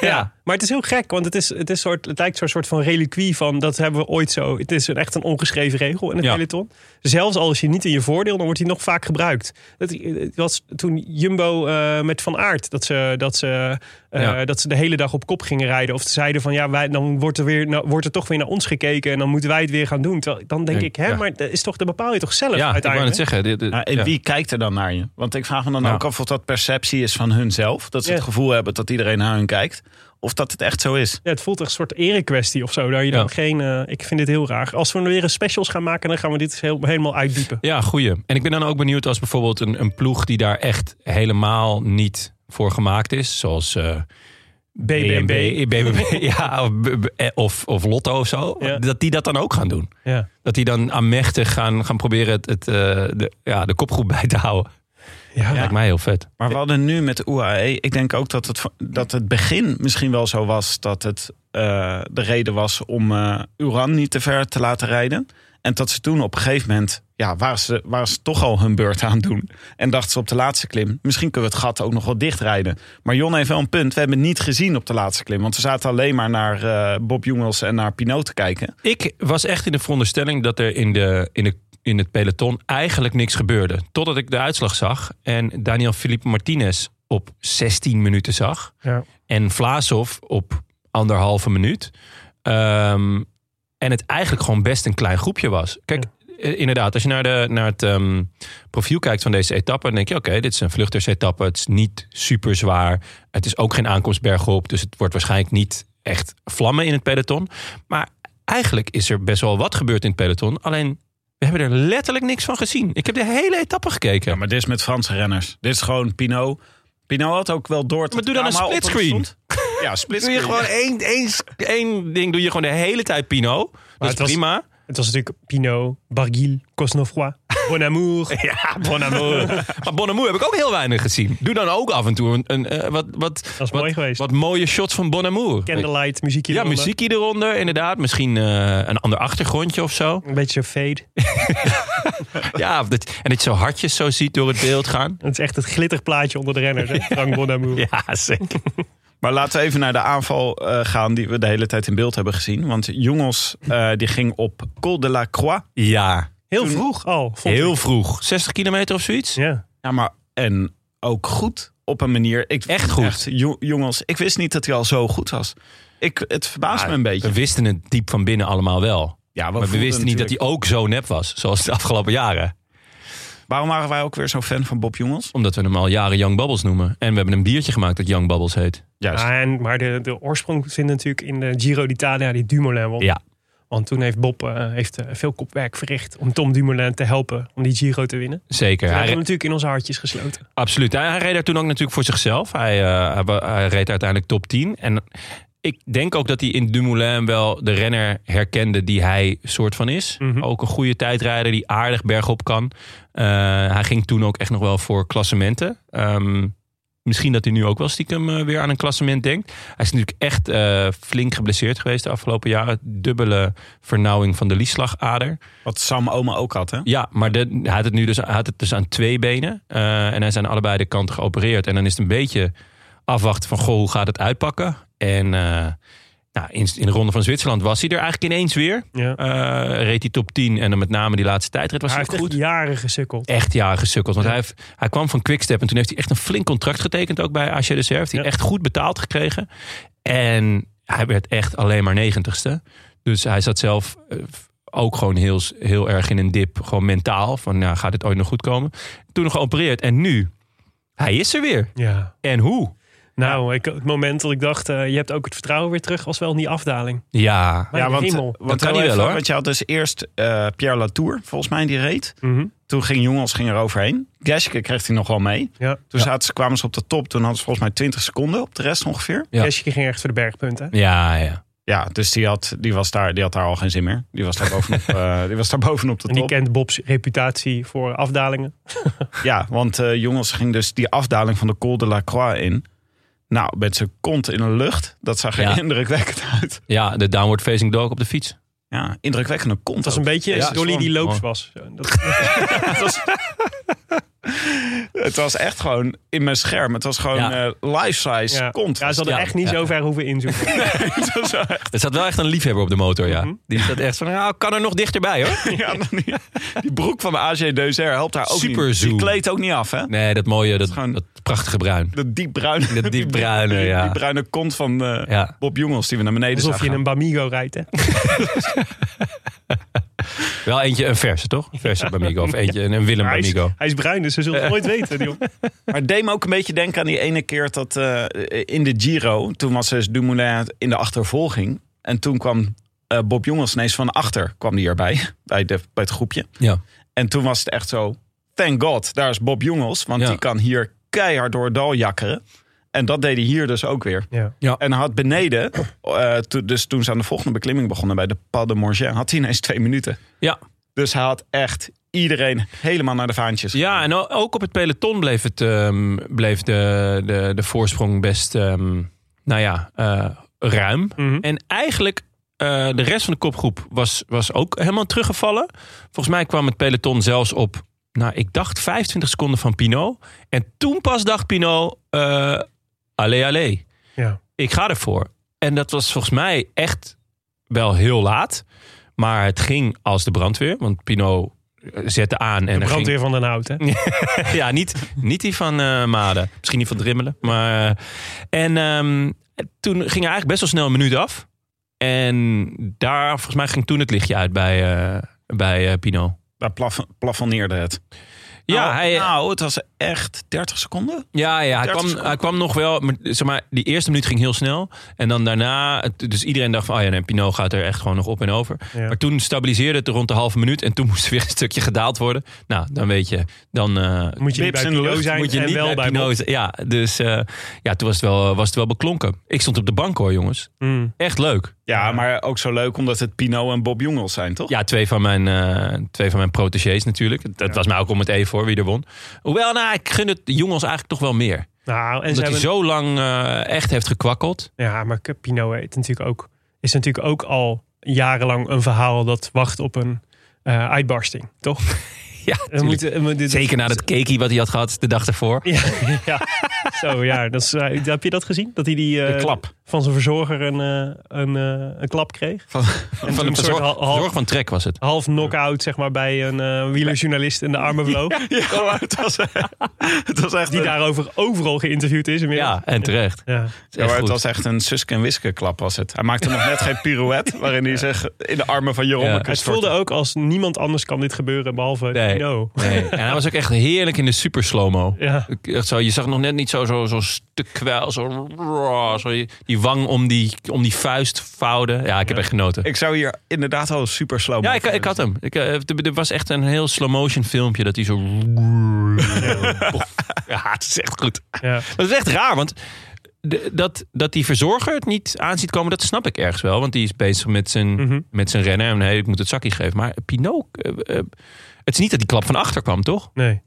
Ja.
Ja.
maar het is heel gek, want het, is, het, is soort, het lijkt zo'n soort van reliquie van dat hebben we ooit zo. Het is een, echt een ongeschreven regel in het
Ja.
peloton. Zelfs al is je niet in je voordeel, dan wordt hij nog vaak gebruikt. Dat, het was toen Jumbo eh, met Van Aert, dat ze, dat, ze, eh,
Ja.
dat ze de hele dag op kop gingen rijden. Of ze zeiden van ja, wij, dan wordt er, weer, nou, wordt er toch weer naar ons gekeken en dan moeten wij het weer gaan doen. Terwijl, dan denk
Ja,
ik, hè,
ja.
maar dat, is toch, dat bepaal je toch zelf
Ja, ik wou
uiteindelijk?
net zeggen. dit- dit-
Nou, en
ja.
wie kijkt er dan naar je? Want ik vraag me dan
Ja.
ook af of dat perceptie is van hunzelf. Dat ze
Ja.
het gevoel hebben dat iedereen naar hun kijkt. Of dat het echt zo is.
Ja, het voelt echt een soort erekwestie of zo. Daar je dan
Ja.
geen, eh, ik vind dit heel raar. Als we weer een specials gaan maken, dan gaan we dit heel, helemaal uitdiepen.
Ja, goeie. En ik ben dan ook benieuwd als bijvoorbeeld een, een ploeg die daar echt helemaal niet voor gemaakt is. Zoals eh,
BBB.
BNB,
[laughs]
BBB, ja, of, b- b- eh, of, of Lotto of zo.
Ja.
Dat die dat dan ook gaan doen.
Ja.
Dat die dan aanmächtig gaan, gaan proberen het, het, eh, de, ja, de kopgroep bij te houden.
Ja.
Lijkt mij heel vet.
Maar we hadden nu met de UAE... Ik denk ook dat het, dat het begin misschien wel zo was... dat het eh, de reden was om eh, Uran niet te ver te laten rijden. En dat ze toen op een gegeven moment... Ja, waren ze, waren ze toch al hun beurt aan het doen. En dachten ze op de laatste klim... misschien kunnen we het gat ook nog wel dichtrijden. Maar Jon heeft wel een punt. We hebben het niet gezien op de laatste klim. Want we zaten alleen maar naar eh, Bob Jungels en naar Pinot te kijken.
Ik was echt in de veronderstelling dat er in, de, in, de, in het peloton eigenlijk niks gebeurde. Totdat ik de uitslag zag en Daniel Felipe Martinez op 16 minuten zag.
Ja.
En Vlaasov op anderhalve minuut. Ehm, en het eigenlijk gewoon best een klein groepje was. Kijk, eh, inderdaad, als je naar, de, naar het ehm, profiel kijkt van deze etappe... dan denk je, oké, dit is een vluchtersetappe. Het is niet super zwaar. Het is ook geen aankomstberg op. Dus het wordt waarschijnlijk niet echt vlammen in het peloton. Maar eigenlijk is er best wel wat gebeurd in het peloton. Alleen, we hebben er letterlijk niks van gezien. Ik heb de hele etappe gekeken.
Ja, maar dit is met Franse renners. Dit is gewoon Pinot. Pinot had ook wel door... dat
Maar doe dan
de
een
camera op hem
splitscreen.
stond. Ja,
[laughs] Doe je
splitscreen.
gewoon één, één, één ding doe je gewoon de hele tijd Pino. Dat is
het was-
prima.
Het was natuurlijk Pinot, Barguil, Cosnefroid, Bonamour.
[laughs] Ja, bon [laughs] amour. maar bon amour heb ik ook heel weinig gezien. Doe dan ook af en toe een, een, eh, wat, wat,
Dat is
wat,
mooi geweest.
wat mooie shots van bon amour.
Candlelight, muziekje.
ja,
eronder.
muziekje eronder, inderdaad. Misschien eh, een ander achtergrondje of
[laughs]
zo.
Een beetje fade.
Ja, of dat, en dat je zo hartjes zo ziet door het beeld gaan.
Het is echt het glitterplaatje onder de
[laughs]
renners. hè? Frank Bonamour.
Ja, zeker.
Maar laten we even naar de aanval eh, gaan die we de hele tijd in beeld hebben gezien. Want Jongels eh, die ging op Col de la Croix.
Ja,
Heel vroeg al. Oh, vond
heel
ik.
vroeg. 60 kilometer of zoiets?
Ja.
Ja, maar en ook goed op een manier. Ik,
Echt goed.
Jo- Jongels, ik wist niet dat hij al zo goed was. Ik, het verbaast me een beetje.
We wisten het diep van binnen allemaal wel.
Ja,
Maar we
voelden
wisten niet dat hij
natuurlijk-
ook zo nep was, zoals de afgelopen jaren.
Waarom waren wij ook weer zo'n fan van Bob Jongels?
Omdat we hem al jaren Young Bubbles noemen. En we hebben een biertje gemaakt dat Young Bubbles heet.
Juist.
Ah, en, maar de, de oorsprong vindt natuurlijk in de Giro d'Italia, die Dumoulin won.
Ja.
Want toen heeft Bob eh, heeft, eh, veel kopwerk verricht om Tom Dumoulin te helpen om die Giro te winnen.
Zeker.
We
Hij
hebben
re-
hem natuurlijk in onze hartjes gesloten.
absoluut. Hij, hij reed daar toen ook natuurlijk voor zichzelf. Hij, eh, hij, wa- hij reed uiteindelijk top 10. En ik denk ook dat hij in Dumoulin wel de renner herkende die hij soort van is.
Mhm.
Ook een goede tijdrijder die aardig bergop kan. Eh, hij ging toen ook echt nog wel voor klassementen. Ehm, misschien dat hij nu ook wel stiekem eh, weer aan een klassement denkt. Hij is natuurlijk echt eh, flink geblesseerd geweest de afgelopen jaren. Dubbele vernauwing van de lieslagader.
Wat Sam Oma ook had, hè?
Ja, maar de, hij, had het nu dus, hij had het dus aan twee benen. eh, en hij is aan allebei de kanten geopereerd. En dan is het een beetje afwachten van... Goh, hoe gaat het uitpakken? En eh, nou, in, in de Ronde van Zwitserland was hij er eigenlijk ineens weer.
Ja.
Eh, reed hij top 10 en dan met name die laatste tijdrit was
Hij
hij
heeft
goed.
echt
Echt,
jaren gesukkeld.
jaren gesukkeld. Want
Ja.
hij, heeft, hij kwam van Quickstep en toen heeft hij echt een flink contract getekend... ook bij AG de Serre. Heeft hij
Ja.
echt goed betaald gekregen. En hij werd echt alleen maar negentigste. Dus hij zat zelf eh, ook gewoon heel, heel erg in een dip. Gewoon mentaal. Van nou, gaat dit ooit nog goed komen? Toen nog geopereerd. En nu? Hij is er weer.
Ja.
En hoe?
Nou, ik, het moment dat ik dacht, eh, je hebt ook het vertrouwen weer terug, was wel in die afdaling.
Ja.
Mijn
ja, want,
hemel.
Dat
want,
kan
heel
niet wel,
even,
hoor.
want je had dus eerst eh, Pierre Latour, volgens mij, die reed.
Mhm.
Toen ging Jongens ging er overheen. Geske kreeg hij nog wel mee.
Ja.
Toen zaten ze, kwamen ze op de top. Toen hadden ze volgens mij 20 seconden op de rest ongeveer.
Ja.
Kesje ging echt voor de bergpunten.
Ja, ja.
Ja, dus die had, die was daar, die had daar al geen zin meer. Die was [laughs] daar bovenop, eh, die was daar bovenop de
En die
top.
kent Bob's reputatie voor afdalingen.
Ja, want eh, jongens ging dus die afdaling van de Col de la Croix in. Nou, met zijn kont in de lucht. Dat zag er
Ja.
indrukwekkend uit.
Ja, de downward facing dog op de fiets.
Ja, indrukwekkende kont.
Het was een beetje
Ja,
als Dolly die
gewoon-
loops
oh.
was. Zo,
[laughs]
Dat,
Het was echt gewoon in mijn scherm. Het was gewoon
Ja.
eh, life-size
ja.
kont.
ja, ze hadden
Ja,
echt niet
ja.
zo ver
[laughs]
hoeven inzoomen.
Het was wel echt-
Er zat wel echt een liefhebber op de motor, ja.
Mhm.
Die zat echt van, nou, kan er nog dichterbij, hoor.
[laughs] ja, dan- ja. Die broek van de AG Deuzer helpt daar ook
Super
niet.
zoom.
Die kleedt ook niet af, hè?
Nee, dat mooie, dat,
Gewoon-
dat prachtige bruin.
Dat diepbruine,
Dat diepbruine,
die-
ja.
die bruine kont van eh,
Ja.
Bob Jongels die we naar beneden
Alsof
zagen
je in
gaan.
een Bamigo rijdt. Hè?
Wel eentje, een verse, toch? Een verse Bamigo. Of eentje, een, een Willem
Maar hij, is,
Bamigo.
hij is bruin, dus
[laughs]
ze zullen het nooit weten. Die jongen.
Maar het deed me ook een beetje denken aan die ene keer dat eh, in de Giro, toen was dus Dumoulin in de achtervolging. En toen kwam eh, Bob Jongels ineens van achter, kwam die erbij, [laughs] bij, de, bij het groepje.
Ja.
En toen was het echt zo, thank god, daar is Bob Jongels. Want
Ja.
die kan hier keihard door het dal jakkeren. En dat deed hij hier dus ook weer.
Ja.
En hij had beneden, eh, to- dus toen ze aan de volgende beklimming begonnen bij de Pas de Morgin, had hij ineens twee minuten.
Ja.
Dus hij had echt iedereen helemaal naar de vaantjes.
ja, en o- ook op het peloton bleef, het, ehm, bleef de, de, de voorsprong best, ehm, nou ja, eh, ruim.
Mhm.
En eigenlijk, eh, de rest van de kopgroep was, was ook helemaal teruggevallen. Volgens mij kwam het peloton zelfs op, nou, ik dacht 25 seconden van Pinot. En toen pas dacht Pinot, eh allee, allee.
Ja.
ik ga ervoor. En dat was volgens mij echt wel heel laat. Maar het ging als de brandweer. Want Pino zette aan. En
De
er ging-
brandweer van Den Hout. Hè?
[laughs] ja, niet, niet die van eh Maden. Misschien die van Drimmelen. Maar, eh, en ehm, toen ging er eigenlijk best wel snel een minuut af. En daar, volgens mij, ging toen het lichtje uit bij, eh, bij eh, Pino.
Daar plaf, plafonneerde het.
Ja,
nou,
hij,
nou, het was echt 30 seconden.
Ja, ja hij,
30
kwam,
seconden.
hij kwam nog wel. Maar, zeg maar, die eerste minuut ging heel snel. En dan daarna. het- Dus iedereen dacht van. Oh ja, nee, Pinot gaat er echt gewoon nog op en over.
Ja.
Maar toen stabiliseerde het rond de halve minuut. En toen [laughs] moest er weer een stukje gedaald worden. Nou, dan weet je. Dan eh,
Moet je niet
Wips
bij
in de
Pino
lucht,
zijn
moet je
en
niet
wel bij Bob.
Pinot. zijn. Ja, dus eh, ja, toen was het, wel, was het wel beklonken. Ik stond op de bank hoor, jongens.
Mm.
Echt leuk.
Ja, maar ook zo leuk omdat het Pino en Bob Jongels zijn, toch? [laughs]
Ja, twee van mijn, eh twee van mijn protégés natuurlijk. Dat was mij ook om het even hoor, wie er won. Hoewel, nou, ik gun het de jongens eigenlijk toch wel meer.
Nou, en ze
Omdat
hebben,
hij zo lang eh, echt heeft gekwakkeld.
Ja, maar Pino heet natuurlijk ook, is natuurlijk ook al jarenlang een verhaal dat wacht op een eh, uitbarsting, toch?
[laughs] Ja,
We
tuurlijk.
moeten- we- dit-
Zeker na dat cakeie wat hij had gehad de dag daarvoor.
[laughs] Ja, ja. Zo, ja. Dat is, eh, heb je dat gezien? Dat hij die eh,
De klap.
van zijn verzorger een, eh, een, eh, een klap kreeg?
Van,
En
Van een
toen een soort
verzorg,
hal- hal-
verzorg van Trek was het.
half knock-out zeg maar, bij een eh, wielerjournalist in de
[laughs]
armen vloog.
ja, maar Oh, het was, [laughs] het was echt
Die
een,
daarover overal geïnterviewd is inmiddels.
Ja, en terecht.
Ja.
Het is
ja, maar
echt
het
goed.
was echt een Suske en Wiske klap was het. Hij maakte nog net geen
[laughs]
pirouette waarin hij zich in de armen van Jeroen
Ja.
ja.
Het voelde ook als niemand anders kan dit gebeuren behalve
Nee.
Pino.
Nee. En hij was ook echt heerlijk in de super slow-mo.
Ja.
Ik- echt zo, Je zag nog net niet zo, zo, zo stuk kwijl, zo, zo je- die wang om die, om die vuist vouwen. Ja, ik heb echt genoten.
Ik zou hier inderdaad al super slow
ja, ik, ik had hem. Ik, eh, er er was echt een heel slow-motion filmpje dat hij zo... Ja, het is echt goed.
Ja.
Dat is echt raar, want de- dat, dat die verzorger het niet aan ziet komen, dat snap ik ergens wel. Want die is bezig met zijn,
Mhm.
met zijn rennen. En hey, ik moet het zakje geven. Maar Pinot, eh, eh, het is niet dat die klap van achter kwam, toch?
Nee.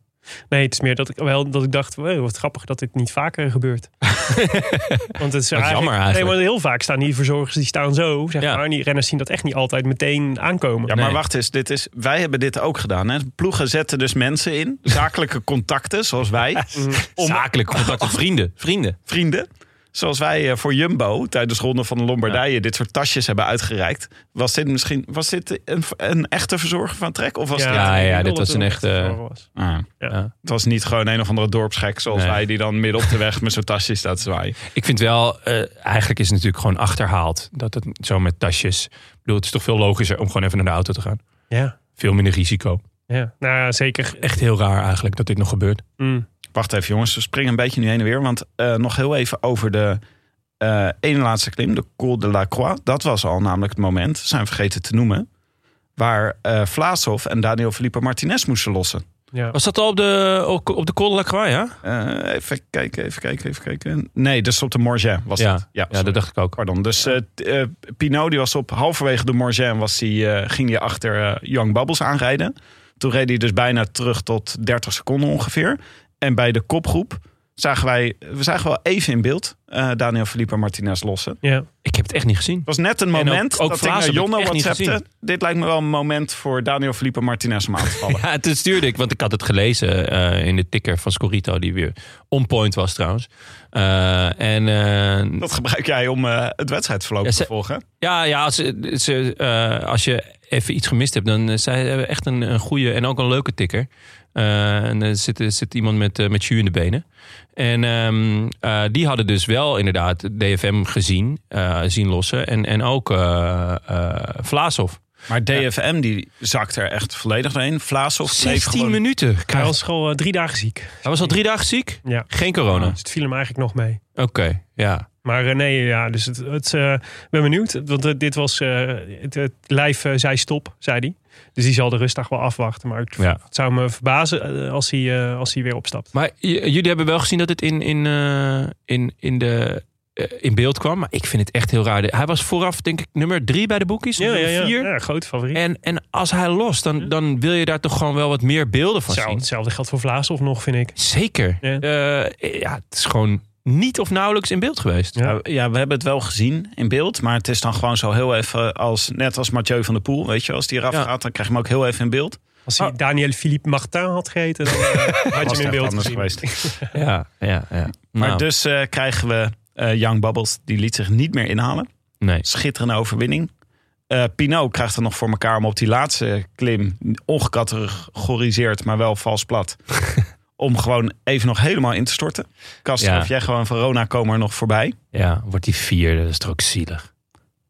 Nee, het is meer dat ik, wel, dat ik dacht, wow, wat grappig dat dit niet vaker gebeurt.
[laughs]
Want het is
jammer
Nee,
eigenlijk.
maar heel vaak staan die verzorgers, die staan zo, zeg
Ja.
maar. En die renners zien dat echt niet altijd meteen aankomen.
Ja, maar
Nee.
wacht eens. Dit is, wij hebben dit ook gedaan. Hè? Ploegen zetten dus mensen in. Zakelijke contacten, zoals wij. [laughs]
Zakelijk contact met vrienden. Vrienden.
Vrienden. Zoals wij eh, voor Jumbo tijdens de Ronde van de Lombardije dit soort tasjes hebben uitgereikt. Was dit misschien was dit een, een echte verzorger van Trek? Of was dit,
ja,
ik bedoel
dit
dat
was een
het
echte-
verzorger was.
Ah,
Ja.
het was niet gewoon een of andere dorpsgek zoals
Nee.
wij die dan midden op de weg met zo'n tasje staat te zwaaien.
Ik vind wel, eh, eigenlijk is het natuurlijk gewoon achterhaald. Dat het zo met tasjes. Ik bedoel, het is toch veel logischer om gewoon even naar de auto te gaan.
Ja,
Veel minder risico.
ja. Nou, ja, zeker.
Echt heel raar eigenlijk dat dit nog gebeurt.
Mm.
Wacht even jongens, we springen een beetje nu heen en weer. Want eh, nog heel even over de eh ene laatste klim, de Col de la Croix. Dat was al namelijk het moment, zijn we vergeten te noemen, waar eh Vlaashoff en Daniel Felipe Martinez moesten lossen.
Ja.
Was dat al op de, op, op de Col de la Croix, ja?
Eh, even kijken, even kijken, even kijken. Nee, dat is op de Morgin was
Ja,
dat. Ja,
Ja,
sorry.
dat dacht ik ook.
Pardon. Dus eh, t- eh, Pinot die was op halverwege de Morgin was hij, eh, ging hij achter eh, Young Bubbles aanrijden. Toen reed hij dus bijna terug tot 30 seconden ongeveer. En bij de kopgroep zagen wij, we zagen wel even in beeld eh, Daniel Felipe Martinez lossen.
ja.
Ik heb het echt niet gezien.
Het was net een
En ook-
moment
ook
dat ik
Vlaas
naar
heb ik
Jonno
echt niet
WhatsAppte.
gezien.
Dit lijkt me wel een moment voor Daniel Felipe Martinez om aan te
[laughs]
vallen.
Ja, toen stuurde ik, want ik had het gelezen eh, in de ticker van Scorito, die weer on point was trouwens. Eh, en eh,
Dat gebruik jij om eh, het wedstrijdverloop
Ja,
te
ze-
volgen.
Ja, ja als, ze, eh, als je even iets gemist hebt, dan eh, zij hebben echt een, een goede en ook een leuke tikker. Eh, en er zit, er zit iemand met, eh, met jus in de benen. En ehm, eh, die hadden dus wel inderdaad DFM gezien, eh, zien lossen. En, en ook eh eh, Vlaashoff.
Maar DFM die zakt er echt volledig doorheen. Vlaashoff bleef
16
gewoon
minuten.
Hij
Karel.
was al eh, drie dagen ziek.
Hij was al drie dagen ziek.
Ja.
Geen corona.
Dus het viel hem eigenlijk nog mee.
Oké, ja.
Maar eh, nee, ja, dus het, het, eh, ik ben benieuwd. Want eh, dit was, eh, het, het lijf eh, zei stop, zei hij. Dus die zal de rustdag wel afwachten. Maar het,
ja.
het zou me verbazen eh, als hij, eh, als hij weer opstapt.
Maar j- jullie hebben wel gezien dat het in, in, eh, in, in, de, eh, in beeld kwam. Maar ik vind het echt heel raar. Hij was vooraf, denk ik, nummer drie bij de boekies. of
Ja, ja,
nummer
ja.
vier.
ja grote favoriet.
En, en als hij lost, dan, dan wil je daar toch gewoon wel wat meer beelden van
Zou-
zien.
hetzelfde geldt voor Vlaashoff nog, vind ik.
Zeker.
Ja.
Eh, ja, het is gewoon niet of nauwelijks in beeld geweest.
Ja.
Ja. we hebben het wel gezien in beeld. Maar het is dan gewoon zo heel even als... Net als Mathieu van der Poel, weet je. Als die eraf
Ja.
gaat, dan krijg je hem ook heel even in beeld.
Als
Ah.
hij Daniel Philippe Martin had gegeten, dan eh, [laughs] had je
Was
hem in
echt
beeld
anders
gezien.
geweest.
Ja, ja, ja.
Maar
Nou,
dus eh, krijgen we eh Young Bubbles. Die liet zich niet meer inhalen.
nee.
Schitterende overwinning. Eh Pinot krijgt het nog voor elkaar om op die laatste klim... ongecategoriseerd, maar wel vals plat... om gewoon even nog helemaal in te storten. Kast,
Ja.
of jij gewoon Verona komen er nog voorbij.
Ja, wordt die vier, dat is toch ook zielig.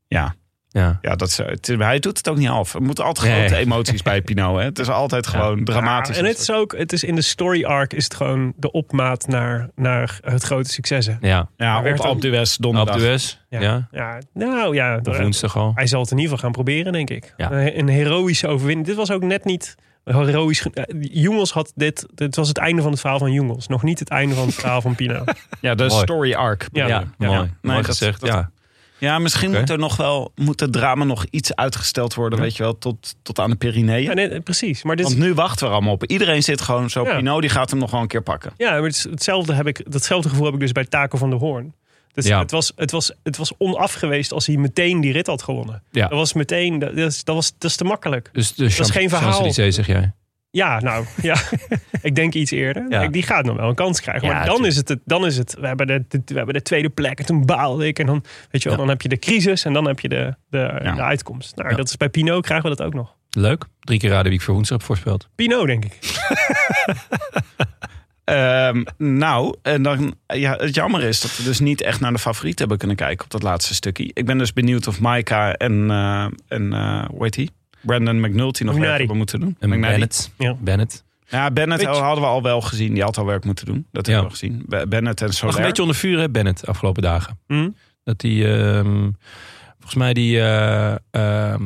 Ja,
Ja.
Ja, dat is, het is- hij doet het ook niet af. Er moeten altijd
Nee.
grote emoties bij Pinot. Hè? Het is altijd gewoon dramatisch.
Ja, en het is ook, het is in de story arc is het gewoon de opmaat naar, naar het grote succes. hè.
Ja,
ja,
werd
op Alpe d'Huez
op
donderdag.
de West. Ja.
ja. Nou ja,
Of woensdag al.
hij zal het in ieder geval gaan proberen, denk ik.
Ja.
Een, een heroïsche overwinning. Dit was ook net niet heroïsch. gen- eh, Jongels had dit. Dit was het einde van het verhaal van Jongels. Nog niet het einde van het verhaal
[laughs]
van Pino.
Ja, de
Mooi.
story arc.
Ja.
Ja, mooi.
Nee,
mooi
dat-
gezegd.
dat-
ja.
Ja, misschien
Oké.
moet er nog wel moet het drama nog iets uitgesteld worden, weet je wel, tot, tot aan de
Ja,
Pyreneeën.
nee, precies. Maar dit is
Want nu wachten we er allemaal op. Iedereen zit gewoon zo.
Ja.
Pinot die gaat hem nog wel een keer pakken.
Ja, maar het is hetzelfde heb ik, datzelfde gevoel heb ik dus bij Taco van der Hoorn. Dus
Ja.
het, was, het, was, het was onaf geweest als hij meteen die rit had gewonnen.
Ja.
Dat was meteen, dat is, dat was, dat is te makkelijk.
Dus de Champs-
geen verhaal.
Champs-Élysées, zeg jij.
Ja, nou,
[laughs]
ja. ik denk iets eerder.
Ja.
Ik- die gaat nog wel een kans krijgen.
Ja,
maar dan
tuurlijk.
is, het, het- dan is het, we hebben, de, de- we hebben de tweede plek en toen baalde ik. En dan, weet je wel, dan heb je de crisis en dan heb je de, de,
Ja.
de uitkomst. Nou,
Ja.
dat is bij Pino krijgen we dat ook nog.
Leuk. Drie keer raden wie ik voor woensdag heb voorspeld.
Pino, denk ik.
Ehm, nou, en dan, ja, het jammer is dat we dus niet echt naar de favoriet hebben kunnen kijken op dat laatste stukje. Ik ben dus benieuwd of Maika en, eh, en eh, hoe heet die? Brandon McNulty nog
McNary.
werk hebben moeten doen.
En
McNary.
Bennett. Oh,
Ja.
Bennett.
Ja, Bennett
Weet je-
hadden we al wel gezien. Die had al werk moeten doen. Dat
Ja.
hebben we al gezien. Be- Bennett en
Nog een
Soler.
beetje onder vuur, hè, Bennett, afgelopen dagen.
Hm?
Dat die, ehm, volgens mij, die eh, ehm,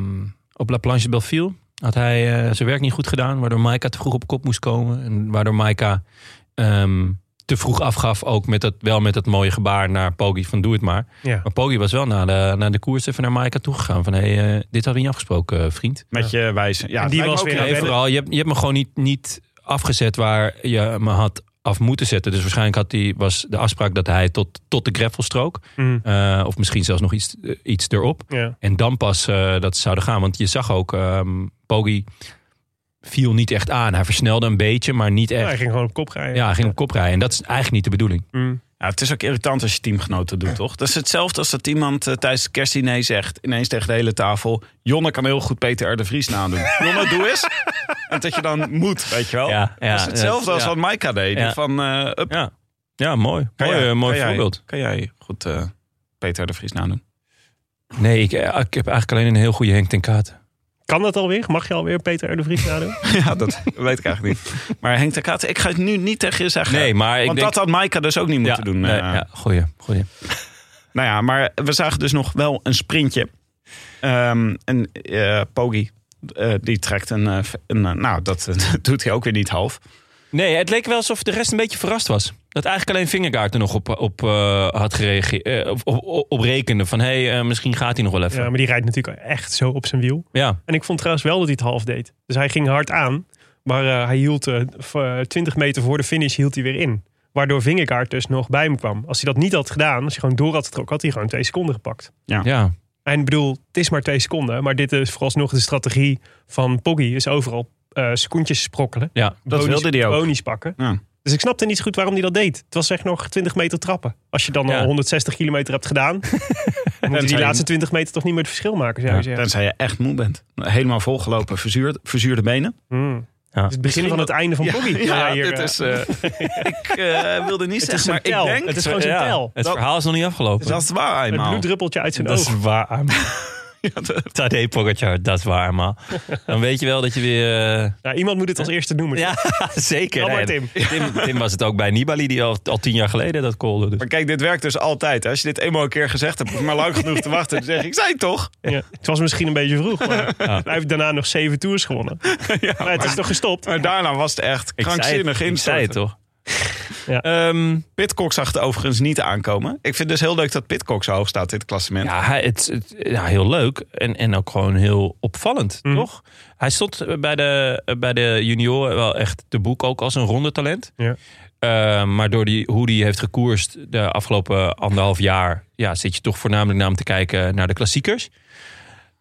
op La Planche de Belleville had hij eh, zijn werk niet goed gedaan, waardoor Maika te vroeg op kop moest komen. En waardoor Maika ehm, te vroeg afgaf, ook met dat, wel met dat mooie gebaar naar Poggi van doe het maar.
Ja.
Maar Poggi was wel na de, na de koers even naar Maika toegegaan van hé, hey, eh, dit hadden we niet afgesproken, eh, vriend.
Met je wijze. Ja,
En die
het lijkt me
was
ook
weer
een-
aan
Nee,
Bennett-
vooral, je hebt, je hebt me gewoon niet, niet afgezet waar je me had af moeten zetten. Dus waarschijnlijk had die, was de afspraak dat hij tot, tot de greffelstrook.
Hm.
eh, of misschien zelfs nog iets, eh, iets erop.
ja.
En dan pas eh, dat ze zouden gaan. Want je zag ook, ehm Poggi viel niet echt aan. Hij versnelde een beetje, maar niet
Ja, Nou, hij
echt.
ging gewoon op kop rijden.
Ja, hij ging op kop rijden. En dat is eigenlijk niet de bedoeling.
Hm.
Ja, Nou, het is ook irritant als je teamgenoten doet, toch? Dat is hetzelfde als dat iemand eh, tijdens het kerstdiner zegt... ineens tegen de hele tafel... Jonne kan heel goed Peter R. de Vries
[laughs]
nadoen. Jonne, doe eens. En dat je dan moet, weet je wel.
Ja, ja,
dat Oh, is hetzelfde
ja.
als wat Maika deed. die
Ja.
Van, eh, up.
Ja, ja mooi.
Kan
mooi
jij-
eh, mooi
kan jij-
voorbeeld.
Kan jij goed eh, Peter R. de Vries nadoen? [laughs]
Nee, ik, eh, ik heb eigenlijk alleen een heel goede Henk ten Kaat.
Kan dat alweer? Mag je alweer Peter R. de Vries nadoen?
[laughs]
Ja, dat weet ik eigenlijk niet. Maar Henk de Kaat, ik ga het nu niet tegen je zeggen.
Nee, maar ik
Want
denk...
dat had Maika dus ook niet moeten
ja,
doen.
nee,
eh.
ja, goeie, goeie.
Nou ja, maar we zagen dus nog wel een sprintje. Ehm en eh Poggi, eh, die trekt een... eh, een eh, nou, dat, [laughs] dat doet hij ook weer niet half.
Nee, het leek wel alsof de rest een beetje verrast was. Dat eigenlijk alleen Vingergaard er nog op, op eh, had gereageerd. op, op, op rekende van, hé, hey, eh, misschien gaat hij nog wel even.
Ja,
Ja.
maar die rijdt natuurlijk echt zo op zijn wiel. En ik vond trouwens wel dat hij het half deed. Dus hij ging hard aan. Maar eh, hij hield eh, v- eh, 20 meter voor de finish hield hij weer in. Waardoor Vingegaard dus nog bij hem kwam. Als hij dat niet had gedaan, als hij gewoon door had getrokken, had hij gewoon twee seconden gepakt.
ja.
En ik bedoel, het is maar twee seconden. Maar dit is vooralsnog de strategie van Poggi. Is overal eh secondjes sprokkelen.
ja.
Dat
bonies-
wilde hij ook.
Bonies pakken.
Ja.
Dus ik snapte niet zo goed waarom hij dat deed. Het was echt nog 20 meter trappen. Als je dan
Ja.
al 160 kilometer hebt
[laughs]
gedaan, dan moet je die
zijn-
laatste 20 meter toch niet meer het verschil maken, zou je zeggen.
Tenzij je echt moe bent. Helemaal volgelopen, verzuurd, verzuurde benen.
Hmm.
Ja.
Het is het begin van het einde van Bobby.
ja,
hier,
dit
eh,
is... eh, [laughs] ik eh, wilde niet
het is
zeggen,
zijn
maar
tel.
ik denk...
Het is gewoon zijn
Ja,
tel.
Het
Dat-
verhaal is nog niet afgelopen.
Dat is waar
het
eenmaal.
bloeddruppeltje uit zijn oog.
waar,
[laughs]
Tadej Pogacar, dat is waar, man. Dan weet je wel dat je weer... eh,
Ja, Nou, iemand moet het als eerste noemen.
Ja, [laughs] zeker.
Jammer,
En
Tim.
Tim. Tim was het ook bij Nibali, die al, al tien jaar geleden dat kolde. Dus.
Maar kijk, dit werkt dus altijd. Als je dit eenmaal een keer gezegd hebt, hoef je maar lang genoeg te wachten. Dan zeg je, ik zei het toch?
Ja. Het was misschien een beetje vroeg, maar hij heeft daarna nog zeven tours
[laughs]
gewonnen. maar het is toch gestopt?
Maar daarna was het echt
Ik zei het-
krankzinnig
Ik zei het
instorten.
toch?
Ja.
Ehm,
Pitcock zag het overigens niet aankomen. Ik vind dus heel leuk dat Pitcock zo hoog staat in het klassement.
ja, hij, het, het- ja, heel leuk en, en ook gewoon heel opvallend,
Mhm.
toch? Hij stond bij de, bij de junioren wel echt te boek ook als een rondetalent.
Ja.
Eh, maar door die, hoe die heeft gekoerst de afgelopen anderhalf jaar... Ja, zit je toch voornamelijk naar hem te kijken naar de klassiekers.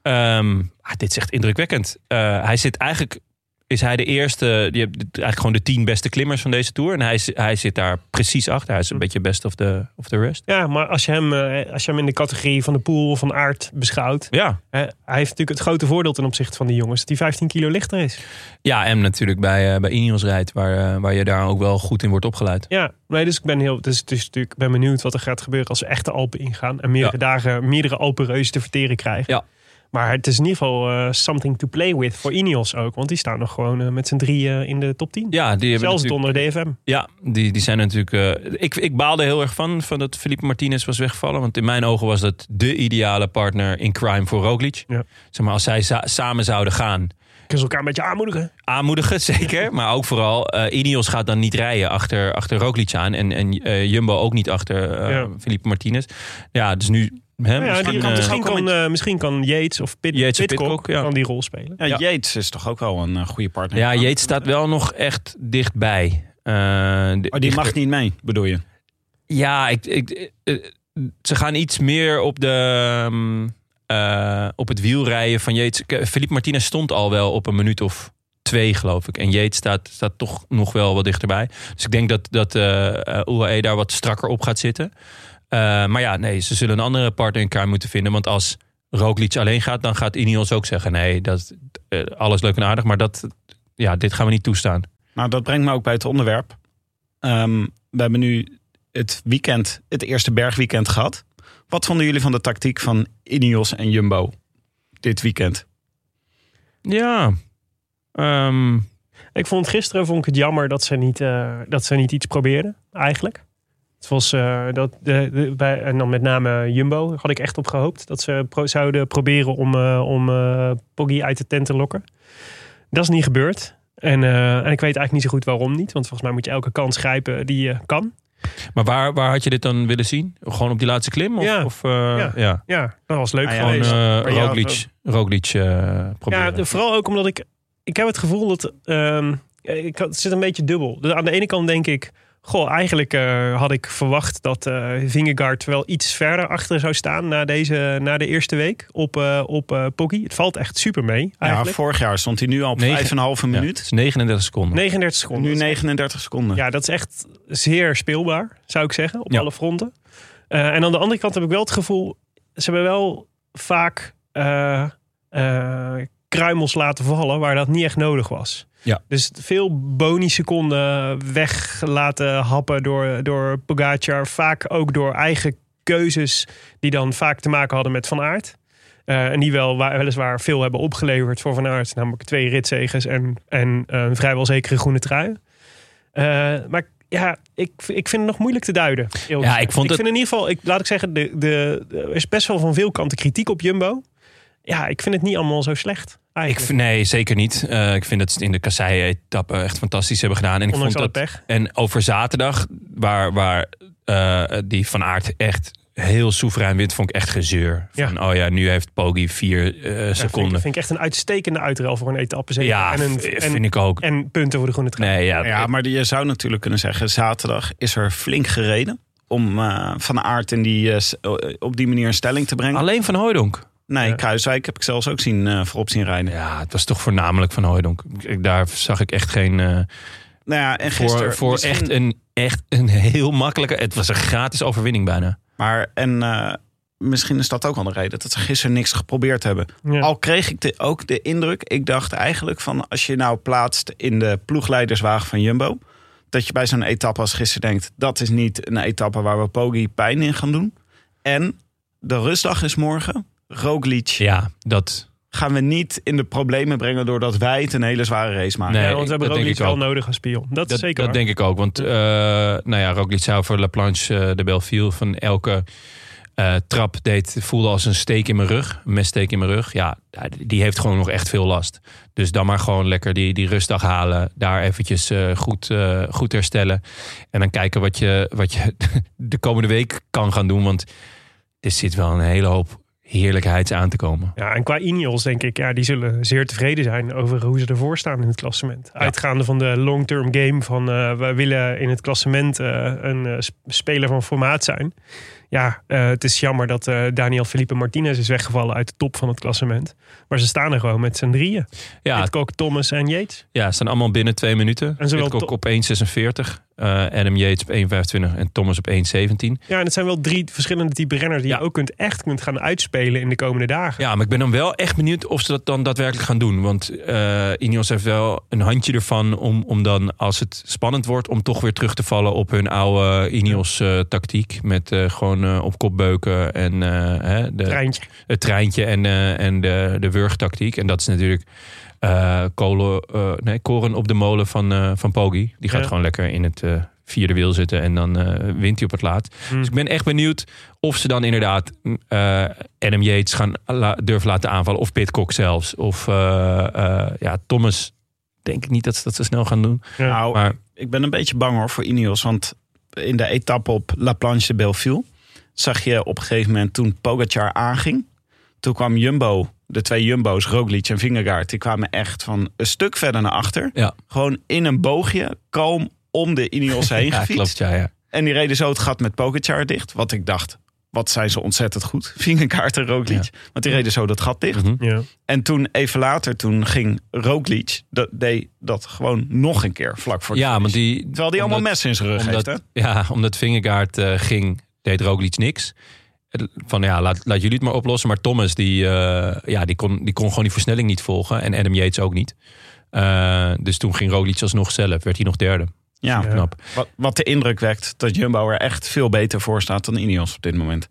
Ehm, ah, dit is echt indrukwekkend. Eh, hij zit eigenlijk... Is hij de eerste, die hebt eigenlijk gewoon de tien beste klimmers van deze tour. En hij, is- hij zit daar precies achter. Hij is een beetje best of the, of the rest.
Ja, maar als je, hem, eh, als je hem in de categorie van de pool of van aard beschouwt.
Ja,
Hè, hij heeft natuurlijk het grote voordeel ten opzichte van die jongens. Dat hij 15 kilo lichter is.
Ja, en natuurlijk bij, eh bij Ineos rijdt, waar, eh, waar je daar ook wel goed in wordt opgeleid.
Ja, nee, dus ik ben, heel, dus, dus natuurlijk, ik ben benieuwd wat er gaat gebeuren als ze echt de Alpen ingaan. En meerdere dagen meerdere Alpenreuzen te verteren krijgen.
Ja.
Maar het is in ieder geval eh, something to play with voor Ineos ook. Want die staan nog gewoon eh, met z'n drieën in de top 10.
Ja, die, hebben
Zelfs
natuurlijk-
donder DFM.
ja, die, die zijn natuurlijk. eh, ik, ik baalde heel erg van, van dat Felipe Martinez was weggevallen. Want in mijn ogen was dat de ideale partner in crime voor Roglic.
Ja.
Zeg maar, als zij za- samen zouden gaan.
Kunnen ze elkaar een beetje aanmoedigen?
Aanmoedigen, [laughs] zeker. Maar ook vooral, eh Ineos gaat dan niet rijden achter, achter Roglic aan. En, en eh, Jumbo ook niet achter eh
Ja.
Felipe Martinez. Ja, dus nu... Hè,
Nou ja,
misschien,
die kan-
eh,
misschien, kan, eh, misschien kan Yates of Pit,
Yates of
Pidcock
Pidcock, ja.
kan die rol spelen.
Ja, Yates is toch ook wel een eh, goede partner.
ja, Jeet staat wel nog echt dichtbij. Eh, di-
Maar Oh, die
dichter-
mag niet mee, bedoel je?
Ja, ik, ik, eh, ze gaan iets meer op, de, ehm, eh, op het wiel rijden van Jeets. Felipe Martinez stond al wel op een minuut of twee, geloof ik. En Jeet staat, staat toch nog wel wat dichterbij. Dus ik denk dat, dat eh, eh, UAE daar wat strakker op gaat zitten. Eh, maar ja, nee, ze zullen een andere partner in elkaar moeten vinden. Want als Roglic alleen gaat, dan gaat Ineos ook zeggen... nee, dat, eh, alles leuk en aardig, maar dat, ja, dit gaan we niet toestaan.
Nou, dat brengt me ook bij het onderwerp. Ehm, we hebben nu het weekend, het eerste bergweekend gehad. Wat vonden jullie van de tactiek van Ineos en Jumbo dit weekend?
Ja, ehm,
Ik vond gisteren vond ik het jammer dat ze niet, eh, dat ze niet iets probeerden, eigenlijk. Het was eh, dat de, de- bij, en dan met name Jumbo had ik echt op gehoopt dat ze pro- zouden proberen om, eh, om eh, Poggi uit de tent te lokken. Dat is niet gebeurd. En, eh, en ik weet eigenlijk niet zo goed waarom niet. Want volgens mij moet je elke kans grijpen die je kan.
Maar waar, waar had je dit dan willen zien? Gewoon op die laatste klim? Of,
Ja.
of, eh, ja.
Ja, dat was leuk
Ah ja,
gewoon.
Gewoon
nee,
eh
maar ja,
Roglic, Roglic eh, proberen.
Ja, de- vooral ook omdat ik... Ik heb het gevoel dat... ehm, ik, had- het zit een beetje dubbel. Dus aan de ene kant denk ik... Goh, eigenlijk eh, had ik verwacht dat eh Vingegaard wel iets verder achter zou staan na, deze, na de eerste week op, eh op eh Poggi. Het valt echt super mee
Ja,
eigenlijk.
vorig jaar stond hij nu al op
Negen.
5,5
Ja,
minuut.
het is 39 seconden.
39 seconden.
Nu 39 seconden.
Ja, dat is echt zeer speelbaar, zou ik zeggen, op
Ja.
alle fronten. Eh, en aan de andere kant heb ik wel het gevoel, ze hebben wel vaak eh, eh, kruimels laten vallen waar dat niet echt nodig was.
Ja.
Dus veel boni-seconden weg laten happen door, door Pogacar. Vaak ook door eigen keuzes die dan vaak te maken hadden met Van Aert. Eh, en die wel, wa- weliswaar veel hebben opgeleverd voor Van Aert. Namelijk twee ritzegers en, en eh, een vrijwel zekere groene trui. Eh, maar ik- ja, ik, ik vind het nog moeilijk te duiden. eerlijk
Ja, ik
gezegd.
vond het-
vind in ieder geval, ik, laat ik zeggen, de, de, er is best wel van veel kanten kritiek op Jumbo. Ja, ik vind het niet allemaal zo slecht.
Ik,
Eigenlijk.
vind- nee, zeker niet. Eh, ik vind dat ze het in de kasseien-etappe echt fantastisch hebben gedaan. En ik
Ondanks alle
vond dat,
pech.
En over zaterdag, waar, waar eh, die Van Aert echt heel soeverein wint, vond ik echt gezeur. Van, oh ja, nu heeft Poggi vier eh,
Ja, vind, ik-
seconden.
vind ik echt een uitstekende uitruil voor een etappe. zeker.
Ja,
en, een,
v-
en,
vind ik ook.
en punten voor de groene trui.
Nee, ja,
Ja, maar je zou natuurlijk kunnen zeggen, zaterdag is er flink gereden om eh, Van Aert in die, eh, s- eh, op die manier in stelling te brengen.
alleen Van Hooydonk.
Nee,
Ja.
Kruiswijk heb ik zelfs ook zien, eh, voorop zien rijden.
Ja, het was toch voornamelijk Van Hooydonk. Ik- Daar zag ik echt geen... eh,
Nou ja, en
voor
gisteren
voor
misschien-
echt, een, echt een heel makkelijke... Het was een gratis overwinning bijna.
Maar en eh, misschien is dat ook wel de reden dat ze gisteren niks geprobeerd hebben.
Ja.
Al kreeg ik de, ook de indruk, ik dacht eigenlijk van als je nou plaatst in de ploegleiderswagen van Jumbo, dat je bij zo'n etappe als gisteren denkt, dat is niet een etappe waar we Poggi pijn in gaan doen. En de rustdag is morgen. Roglic
Ja, dat...
gaan we niet in de problemen brengen doordat wij het een hele zware race maken.
Nee.
Ja, want we hebben
dat
ook
denk
iets
ik
wel
ook.
nodig als spion. Dat, is
Dat,
zeker
dat
waar.
denk ik ook. Want eh nou ja, Roglic zou voor La Planche eh, de Belleville van elke eh, trap deed, voelde als een steek in mijn rug. Een messteek in mijn rug. Ja, die heeft gewoon nog echt veel last. Dus dan maar gewoon lekker die, die rustdag halen. Daar eventjes eh, goed, eh, goed herstellen. En dan kijken wat je, wat je [laughs] de komende week kan gaan doen. Want er zit wel een hele hoop heerlijkheids aan te komen.
Ja, en qua Ineos denk ik, ja, die zullen zeer tevreden zijn over hoe ze ervoor staan in het klassement. Uitgaande van de long-term game van eh we willen in het klassement eh, een eh, sp- speler van formaat zijn. Ja, eh, het is jammer dat eh, Daniel Felipe Martinez is weggevallen uit de top van het klassement. Maar ze staan er gewoon met z'n drieën.
Ja,
Pitcock, Thomas en Yates.
Ja, ze staan allemaal binnen twee minuten.
En zowel
Pitcock
to-
op 1,46. eh, Adam Yates op 1,25. En Thomas op 1,17.
Ja, en het zijn wel drie verschillende type renners die
Ja.
je ook kunt, echt kunt gaan uitspelen in de komende dagen.
Ja, maar ik ben dan wel echt benieuwd of ze dat dan daadwerkelijk gaan doen. Want eh Ineos heeft wel een handje ervan om, om dan, als het spannend wordt... om toch weer terug te vallen op hun oude eh, Ineos-tactiek. met eh, gewoon eh, op kop beuken en eh, hè, de,
Treintje.
het treintje en, eh, en de, de wurgtactiek. En dat is natuurlijk eh, kolen, eh, nee, koren op de molen van, eh van Poggi. Die gaat
Ja.
gewoon lekker in het eh, vierde wiel zitten en dan eh, wint hij op het laat.
Hm.
Hmm.
Dus ik ben echt benieuwd of ze dan inderdaad mm, eh Adam Yates gaan la- durven laten aanvallen. Of Pitcock zelfs. Of eh, eh, ja, Thomas. Denk ik niet dat ze dat zo snel gaan doen.
Nou,
Maar
ik ben een beetje bang hoor voor Ineos. Want in de etappe op La Planche de Belleville zag je op een gegeven moment toen Pogacar aanging. Toen kwam Jumbo, de twee Jumbo's, Roglic en Vingegaard, die kwamen echt van een stuk verder naar achter.
Ja.
Gewoon in een boogje, kalm om de
[laughs]
Ineos heen
ja,
gefietst.
klopt. Ja, ja.
En die reden zo het gat met Pogacar dicht. Wat ik dacht, wat zijn ze ontzettend goed. [laughs] Vingegaard en Roglic. Want die reden zo dat gat dicht.
Mhm.
Ja.
En toen, even later, toen ging Roglic, dat deed dat gewoon nog een keer vlak voor de
ja,
finish.
want die,
Terwijl die allemaal
omdat-
messen in zijn rug
omdat,
heeft, hè?
Ja, omdat Vingegaard eh, ging, deed Roglic niks. Van ja, laat, laat jullie het maar oplossen. Maar Thomas, die, eh, ja, die, kon, die kon gewoon die versnelling niet volgen. En Adam Yates ook niet. Eh, dus toen ging Roglic alsnog zelf. Werd hij nog derde. Ah,
Ja,
Ja.
Knap.
Wat, wat de indruk wekt dat Jumbo er echt veel beter voor staat dan Ineos op dit moment.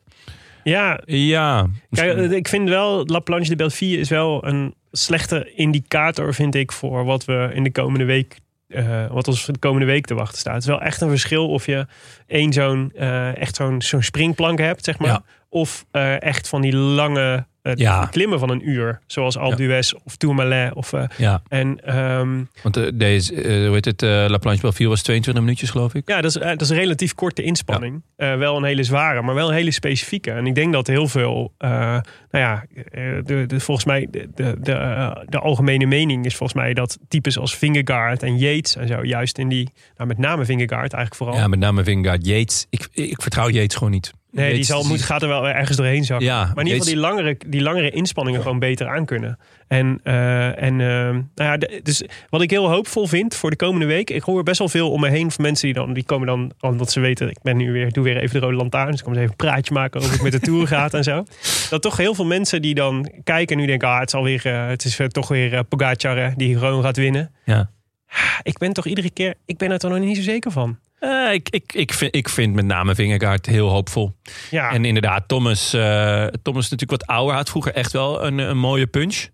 ja,
Ja.
Kijk, eh, ik vind wel, La Planche de Belleville is wel een slechte indicator, vind ik, voor wat we in de komende week. eh, wat ons de komende week te wachten staat. Het is wel echt een verschil of je één zo'n eh, echt zo'n zo'n springplank hebt, zeg maar.
Ja.
Of eh, echt van die lange Het
Ja.
klimmen van een uur. Zoals Alpe
Ja.
d'Huez of Tourmalet. Of, eh,
Ja,
en ehm,
want eh, deze, eh, hoe heet het, eh, La Planche Belfield was 22 minuutjes geloof ik.
ja, dat is, eh, dat is een relatief korte inspanning. Eh, wel een hele zware, maar wel een hele specifieke. En ik denk dat heel veel, eh, nou ja, eh, de, de, volgens mij, de, de, de, eh, de algemene mening is volgens mij dat types als Vingegaard en Yates en zo, juist in die, nou met name Vingegaard eigenlijk vooral.
Ja, met name Vingegaard, Yates. Ik, ik vertrouw Yates gewoon niet.
nee, die
Yates
zal,
is-
moet, gaat er wel ergens doorheen zakken.
Ja,
Maar in ieder geval die langere, die langere inspanningen gewoon beter aankunnen. En, eh, en eh, nou ja, de- dus wat ik heel hoopvol vind voor de komende week. Ik hoor best wel veel om me heen van mensen die dan die komen dan, omdat ze weten, ik ben nu weer, doe weer even de rode lantaarn. Dus ik kom eens even een praatje maken over hoe het met de tour gaat en zo. Dat toch heel veel mensen die dan kijken en nu denken, ah, het zal weer, eh, het is eh, toch weer eh, Pogacar eh, die gewoon gaat winnen.
Ja.
Ah, Ik ben toch iedere keer, ik ben er toch nog niet zo zeker van.
Eh, ik, ik, ik, vind, ik vind met name Vingegaard heel hoopvol.
Ja,
En inderdaad, Thomas, eh, Thomas is natuurlijk wat ouder. Had vroeger echt wel een, een mooie punch.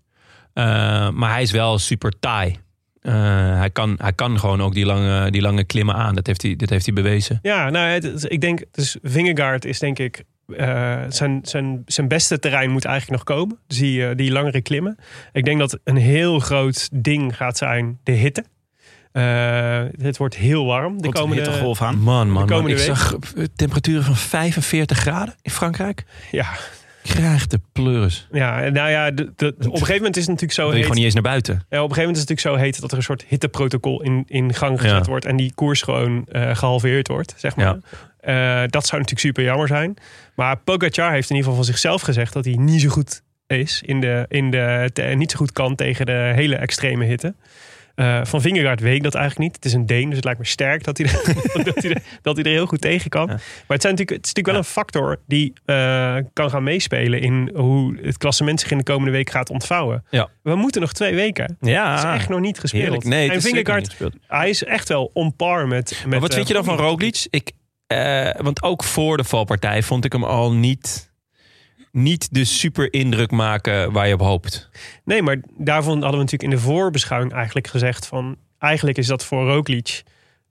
Eh, maar hij is wel super taai. Eh, hij, kan, hij kan gewoon ook die lange, die lange klimmen aan. Dat heeft hij, dat heeft hij bewezen.
Ja, nou, het- het- ik denk, dus Vingegaard is denk ik, eh, zijn, zijn, zijn beste terrein moet eigenlijk nog komen. Dus die, eh, die langere klimmen. Ik denk dat een heel groot ding gaat zijn de hitte. Eh, het wordt heel warm de
Komt een
komende
hittegolf aan.
Man, man, man.
komende
Ik
week.
zag eh, temperaturen van 45 graden in Frankrijk.
Ja,
Ik Krijg de pleuris.
ja, en nou ja, de, de- op een gegeven moment is het natuurlijk zo
Dan wil je
heet.
gewoon niet eens naar buiten.
Ja, Eh, op een gegeven moment is het natuurlijk zo heet dat er een soort hitteprotocol in, in gang gezet
Ja.
wordt. En die koers gewoon eh, gehalveerd wordt, zeg maar.
Ja.
Eh, dat zou natuurlijk super jammer zijn. Maar Pogacar heeft in ieder geval van zichzelf gezegd dat hij niet zo goed is. In de, in de, te- niet zo goed kan tegen de hele extreme hitte. Eh, van Vingegaard weet ik dat eigenlijk niet. Het is een Deen, dus het lijkt me sterk dat hij er, [laughs] dat hij er, dat hij er heel goed tegen kan.
Ja.
Maar het, zijn natuurlijk, het is natuurlijk wel een factor die eh, kan gaan meespelen... in hoe het klassement zich in de komende week gaat ontvouwen.
Ja.
We moeten nog twee weken.
Ja,
Het is echt nog niet gespeeld.
Ah, heerlijk. Nee, het
en
is zeker
Vingegaard,
niet gespeeld.
hij is echt wel on par met... met
Maar wat
eh,
vind je dan van Roglic? Ik, eh, want ook voor de valpartij vond ik hem al niet, niet de super indruk maken waar je op hoopt.
Nee, maar daarvan hadden we natuurlijk in de voorbeschouwing eigenlijk gezegd van... Eigenlijk is dat voor Roglic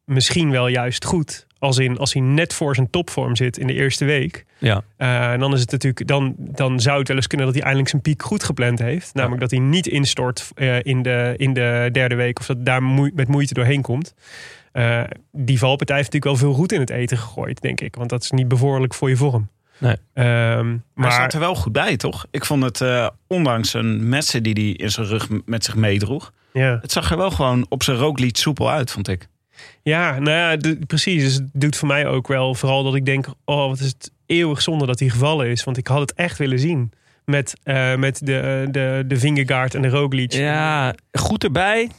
misschien wel juist goed. Als in, als hij net voor zijn topvorm zit in de eerste week.
Ja.
Eh, en dan, is het natuurlijk, dan, dan zou het wel eens kunnen dat hij eindelijk zijn piek goed gepland heeft. Namelijk dat hij niet instort eh, in, de, in de derde week. Of dat daar moe- met moeite doorheen komt. Eh, die valpartij heeft natuurlijk wel veel roet in het eten gegooid, denk ik. Want dat is niet bevorderlijk voor je vorm.
Nee.
Ehm,
Maar hij
maar
staat er wel goed bij, toch? Ik vond het, eh, ondanks een messen die hij in zijn rug m- met zich meedroeg...
ja.
het zag er wel gewoon op zijn rooklied soepel uit, vond ik.
Ja, nou ja, d- precies. Dus het doet voor mij ook wel vooral dat ik denk... oh, wat is het eeuwig zonde dat hij gevallen is. Want ik had het echt willen zien met, eh, met de, eh, de, de Vingegaard en de Roglic.
Ja, goed erbij.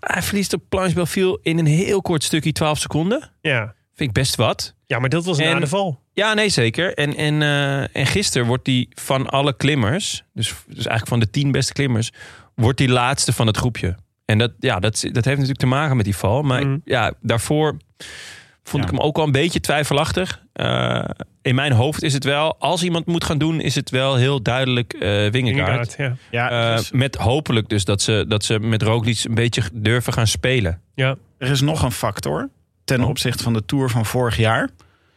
Hij verliest op Planche Belfield in een heel kort stukje, 12 seconden.
Ja.
Vind ik best wat.
ja, maar dat was na
En-
de val.
Ja, nee, zeker. En, en, eh, en gisteren wordt die van alle klimmers, dus, dus eigenlijk van de tien beste klimmers, wordt die laatste van het groepje. En dat, ja, dat, dat heeft natuurlijk te maken met die val. Maar ik-
Mm.
ja, daarvoor vond
Mhm. Ja.
ik hem ook wel een beetje twijfelachtig. Eh, in mijn hoofd is het wel, als iemand moet gaan doen, is het wel heel duidelijk eh Wingegaard.
Vingegaard, ja.
Ja,
Eh,
er, is,
met hopelijk dus dat ze, dat ze met Roglic een beetje durven gaan spelen.
ja.
er is nog een factor. Ten
Oh.
opzichte van de Tour van vorig jaar...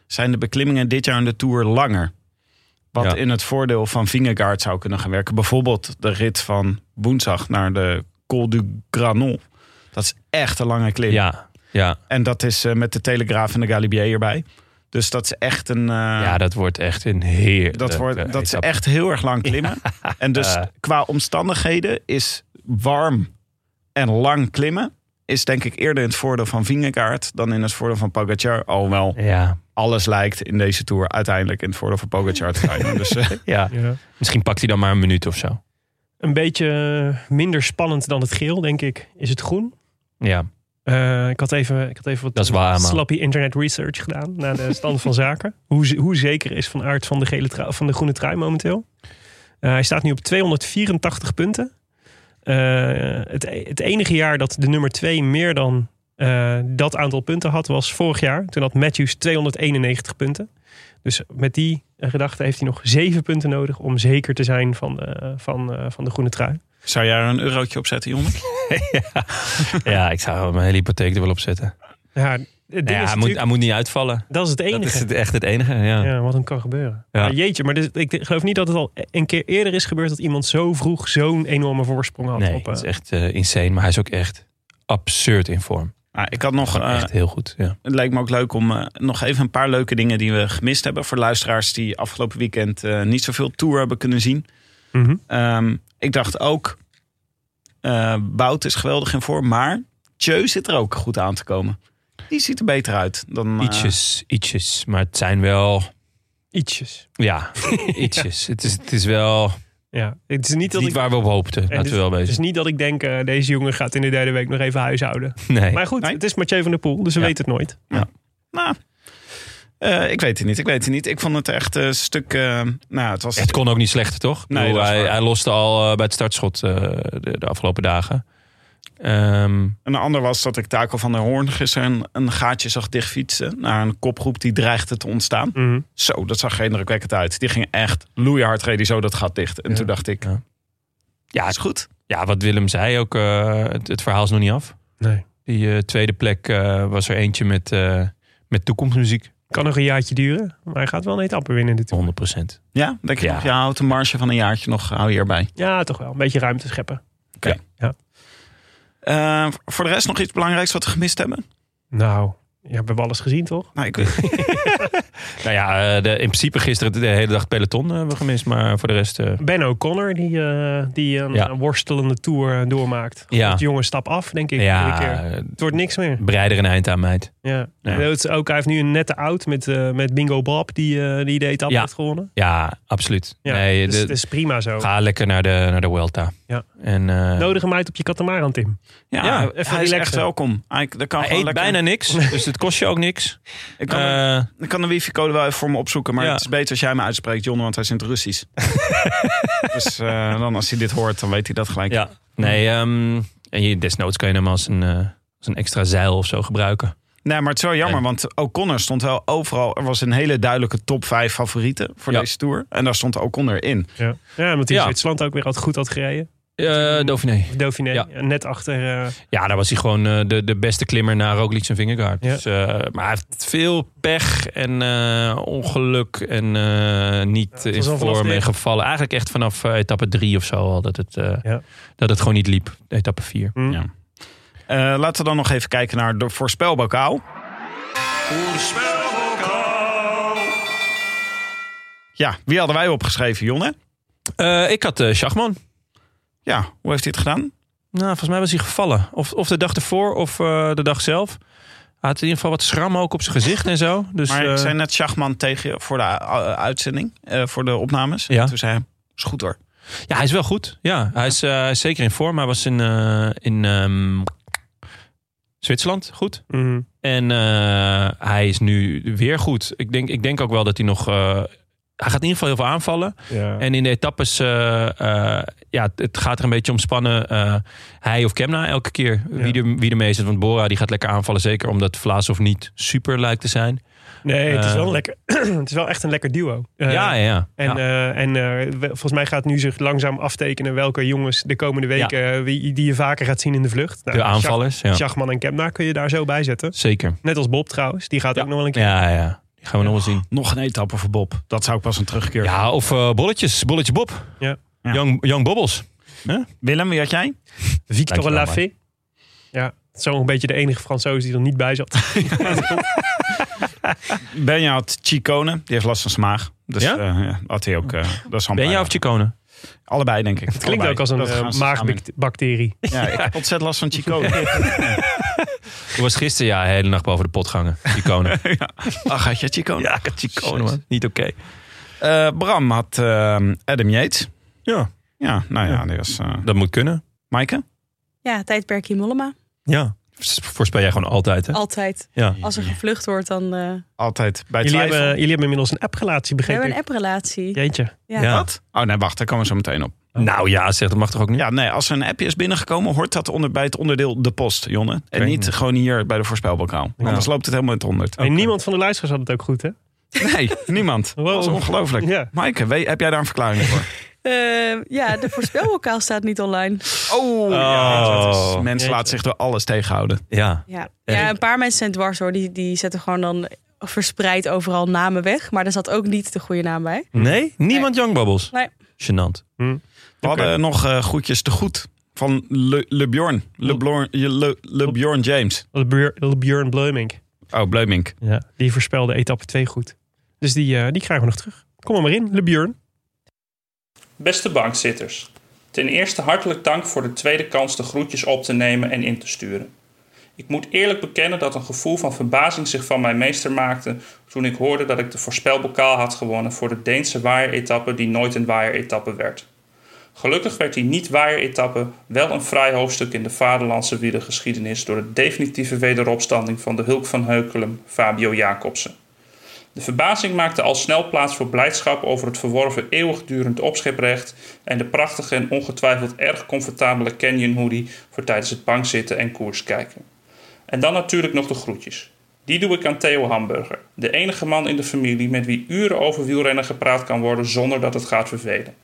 zijn de beklimmingen dit jaar in de Tour langer. Wat
Ja.
in het voordeel van Vingegaard zou kunnen gaan werken. Bijvoorbeeld de rit van woensdag naar de Col du Granon. Dat is echt een lange klim.
Ja, ja,
En dat is eh, met de Telegraaf en de Galibier erbij. Dus dat is echt een... eh,
ja, dat wordt echt een eh, heer.
Dat, wordt, dat ze echt heel erg lang klimmen. [laughs] En dus qua omstandigheden is warm en lang klimmen... is denk ik eerder in het voordeel van Vingegaard... dan in het voordeel van Pogacar. Alhoewel
Ja,
alles lijkt in deze Tour uiteindelijk in het voordeel van Pogacar te
[laughs]
zijn. Dus eh,
ja.
ja.
Misschien pakt hij dan maar een minuut of zo.
Een beetje minder spannend dan het geel, denk ik. Is het groen?
Ja,
Eh, ik, had even, ik had even wat
Dat is waar, man.
slappy internet research gedaan naar de stand van [laughs] zaken. Hoe, ze- hoe zeker is Van Aert van de, gele trui- van de groene trui momenteel? Eh, hij staat nu op 284 punten. Eh, het, e- het enige jaar dat de nummer 2 meer dan eh, dat aantal punten had, was vorig jaar. Toen had Matthews 291 punten. Dus met die eh, gedachte heeft hij nog 7 punten nodig om zeker te zijn van, eh, van, eh, van de groene trui.
zou jij er een eurotje op zetten, Jonne?
[laughs] ja ik zou mijn hele hypotheek er wel op zetten.
Ja, het
Ja,
ding is
hij, moet,
natuurlijk-
hij moet niet uitvallen.
dat is het enige.
Dat is het, echt het enige. Ja.
Ja, wat hem kan gebeuren.
Ja.
Maar jeetje, maar dit- ik geloof niet dat het al een keer eerder is gebeurd... dat iemand zo vroeg zo'n enorme voorsprong had.
nee,
op, eh,
het is echt eh, insane. Maar hij is ook echt absurd in vorm.
Nou, ik had nog,
Gewoon
eh,
echt heel goed. Ja.
het lijkt me ook leuk om eh, nog even een paar leuke dingen die we gemist hebben. Voor luisteraars die afgelopen weekend eh, niet zoveel tour hebben kunnen zien.
mhm.
Ehm, ik dacht ook, eh Bout is geweldig in vorm. Maar Tjeu zit er ook goed aan te komen. Die ziet er beter uit dan... eh,
Ietsjes, ietsjes. Maar het zijn wel...
Ietsjes.
Ja, ietsjes. Het, is, het is wel het
Ja, het is niet
is
dat
niet
ik...
waar we op hoopten.
het
Laten
is-
we wel
Het is
wezen.
niet dat ik denk, eh, deze jongen gaat in de derde week nog even huishouden.
Nee.
Maar goed,
Nee.
het is Mathieu van der Poel, dus we
Ja.
weten het nooit.
Nou, eh, ik weet het niet. Ik weet het niet. Ik vond het echt een stuk. eh, nou, het was.
Het kon ook niet slechter, toch? Ik
Nee,
bedoel,
dat is
hij,
waar.
hij loste al eh, bij het startschot eh, de, de afgelopen dagen. Ehm,
Een ander was dat ik Taco van der Hoorn gisteren een, een gaatje zag dichtfietsen. Naar een kopgroep die dreigde te ontstaan.
Mhm.
Zo, dat zag geen indrukwekkend uit. Die ging echt loeihard reden die zo dat gat dicht. En
Ja.
toen dacht ik.
Ja.
Ja, is goed.
ja, wat Willem zei ook, eh, het, het verhaal is nog niet af.
Nee.
Die eh, tweede plek eh, was er eentje met, eh, met toekomstmuziek. 100%.
Kan nog een jaartje duren, maar hij gaat wel een etappe winnen dit toer.
Ja, denk je
Ja.
nog, ja, houd een marge van een jaartje nog. Hou hierbij.
Ja, toch wel. Een beetje ruimte scheppen.
Eh, voor de rest nog iets belangrijks wat we gemist hebben?
Nou, ja, we hebben alles gezien, toch?
[laughs]
Nou, ik,
Nou ja, eh, de, in principe gisteren de hele dag het peloton eh, hebben we gemist. Maar voor de rest... eh,
Ben O'Connor, die, eh, die een
Ja.
worstelende tour eh, doormaakt.
Ja.
Goed, jongen, stap af, denk ik. iedere
ja,
keer.
eh,
Het wordt niks meer.
breider een eind aan, meid.
Ja.
Ja.
Dat is ook, hij heeft nu een nette out met, eh, met Bingo Bob, die, eh, die de etappe
Ja.
heeft gewonnen.
Ja, absoluut.
Ja,
nee,
dus
de-
het is prima zo.
ga lekker naar de, naar de Welta.
Ja.
En, eh,
Nodig hem uit op je katamaran, Tim.
ja,
Ja,
hij
even
is echt
relaxen.
welkom. Hij, dat kan
Hij
gewoon
eet
lekker-
bijna niks, dus het kost je ook
[laughs]
niks.
Ik kan
Eh,
Ik kan de wifi-code wel even voor me opzoeken, maar
Ja.
het is beter als jij me uitspreekt, John, want hij is in het
[laughs]
Russisch. dus eh, dan als hij dit hoort, dan weet hij dat gelijk.
ja. Nee, ehm, en je, desnoods kan je hem als een, eh, als een extra zeil of zo gebruiken.
Nee, maar het is wel jammer,
Nee.
want O'Connor stond wel overal. Er was een hele duidelijke top 5 favorieten voor
Ja.
deze tour. En daar stond O'Connor in.
Ja, ja omdat hij
Ja.
in Zwitserland ook weer had goed had gereden.
Eh Dauphiné.
Of Dauphiné,
Ja.
net achter... eh,
Ja, daar was hij gewoon eh, de, de beste klimmer na Roglic en Vingegaard.
Ja.
Dus, eh, maar hij heeft veel pech en eh, ongeluk en eh,
Ja,
niet
het
in
was al vanaf
vorm
de-
en gevallen. Eigenlijk echt vanaf eh, etappe drie of zo al dat het, eh,
Ja.
dat het gewoon niet liep. Etappe vier.
hm.
Ja. Eh, laten we dan nog even kijken naar de voorspelbokaal. Ja, wie hadden wij opgeschreven, Jonne?
Eh, ik had eh Schachman.
Ja, hoe heeft hij het gedaan?
Nou, volgens mij was hij gevallen. Of, of de dag ervoor of eh, de dag zelf. Hij had in ieder geval wat schrammen ook op zijn gezicht en zo. Dus,
Maar
eh,
ik zei net Schachman tegen je voor de eh, uitzending, eh, voor de opnames.
Ja.
En Toen zei hij, is goed hoor.
Ja, hij is wel goed. Ja, hij is eh, zeker in vorm. Hij was in, eh, in ehm, Zwitserland goed.
Mhm.
En eh, hij is nu weer goed. Ik denk, ik denk ook wel dat hij nog... eh, hij gaat in ieder geval heel veel aanvallen.
Ja.
En in de etappes, eh, eh, ja, het- het gaat er een beetje om spannen. eh, hij of Kemna elke keer. Wie, de, wie de meeste is. Want Bora die gaat lekker aanvallen. Zeker omdat Vlaasov niet super lijkt te zijn.
Nee, het is, wel
Eh,
lekker, [clears throat] het is wel echt een lekker duo. Eh,
ja, ja, ja.
En,
Ja.
eh, en eh, we- volgens mij gaat nu zich langzaam aftekenen welke jongens de komende weken eh, wie, die je vaker gaat zien in de vlucht. Nou,
de
Schach-
aanvallers, ja.
Schachman en Kemna kun je daar zo bij zetten.
Zeker.
Net als Bob trouwens, die gaat ook nog wel een keer.
Ja, ja. Die gaan we nog wel zien.
Nog een etappe voor Bob. Dat zou ik pas een terugkeer.
Ja, of eh, bolletjes. Bolletje Bob.
Ja.
Ja.
Young, young Bobbels.
Willem, wie had jij?
Victor
Dankjewel,
Lafay. Ja, zo'n een beetje de enige Fransoos die er niet bij zat.
Benja had Chicone. Die heeft last van zijn maag. Dus
Ja?
ja? ja, had hij ook. eh, dat is
Ben
allemaal-
jij of Chicone?
Allebei, denk ik.
Het klinkt ook als een eh, maagbacterie.
Ja, [laughs] ik heb ontzettend last van Chicone.
Ik was gisteren ja, de hele nacht boven de pot gangen. Chicone.
Ach, had je
Oh,
Chicone? Ja, ik had
Chicone, man. Niet oké.
Bram had eh, Adam Yates.
Ja.
Ja, nou ja, die was... eh
Dat moet kunnen.
Maaike?
Ja, tijdperk in Mollema.
Ja. Voorspel jij gewoon altijd,
Oh,
hè?
Altijd.
Ja.
Als er gevlucht wordt, dan... eh we
Altijd bij
Jullie
twijfel.
hebben, jullie hebben inmiddels een apprelatie, begreep
hebben een
ik.
apprelatie.
Jeetje.
Ja.
Ja.
Wat? Oh nee, wacht, daar komen we zo meteen op.
Nou ja, zeg, dat mag toch ook niet?
Ja, nee, als er een appje is binnengekomen, hoort dat onder, bij het onderdeel de post, Jonne. En
Oké.
niet gewoon hier bij de voorspelbokaal. Anders loopt het helemaal in het honderd.
En niemand van de luisteraars had het ook goed, hè?
Nee, niemand.
[laughs] Wow.
Dat is ongelooflijk.
Ja. [laughs]
Maaike, we- heb jij daar een verklaring voor?
Ehm, ja, de voorspelbokaal staat niet online.
Oh, ja, dat is- mensen
Oh. Jeetje.
laten zich door alles tegenhouden.
Ja.
Ja.
Ja,
ja,
ik-
een paar mensen zijn dwars hoor. Die, die zetten gewoon dan verspreid overal namen weg. Maar daar zat ook niet de goede naam bij.
Nee? Niemand Young Bubbles?
Nee.
Gênant.
We hadden nog eh, groetjes te goed van Le, LeBjorn. LeBlorn- je- Le, LeBjorn James.
Björn Bleumink.
Oh, Bleumink.
Ja, die voorspelde etappe 2 goed. Dus die, eh, die krijgen we nog terug. Kom er maar in, Le Björn.
Beste bankzitters, ten eerste hartelijk dank voor de tweede kans de groetjes op te nemen en in te sturen. Ik moet eerlijk bekennen dat een gevoel van verbazing zich van mij meester maakte toen ik hoorde dat ik de voorspelbokaal had gewonnen voor de Deense waaieretappe die nooit een waaieretappe werd. Gelukkig werd die niet-waaieretappe wel een vrij hoofdstuk in de vaderlandse wielergeschiedenis door de definitieve wederopstanding van de Hulk van Heukelum, Fabio Jacobsen. De verbazing maakte al snel plaats voor blijdschap over het verworven eeuwigdurend opscheprecht en de prachtige en ongetwijfeld erg comfortabele Canyon hoodie voor tijdens het bankzitten en koers kijken. En dan natuurlijk nog de groetjes. Die doe ik aan Theo Hamburger, de enige man in de familie met wie uren over wielrennen gepraat kan worden zonder dat het gaat vervelen.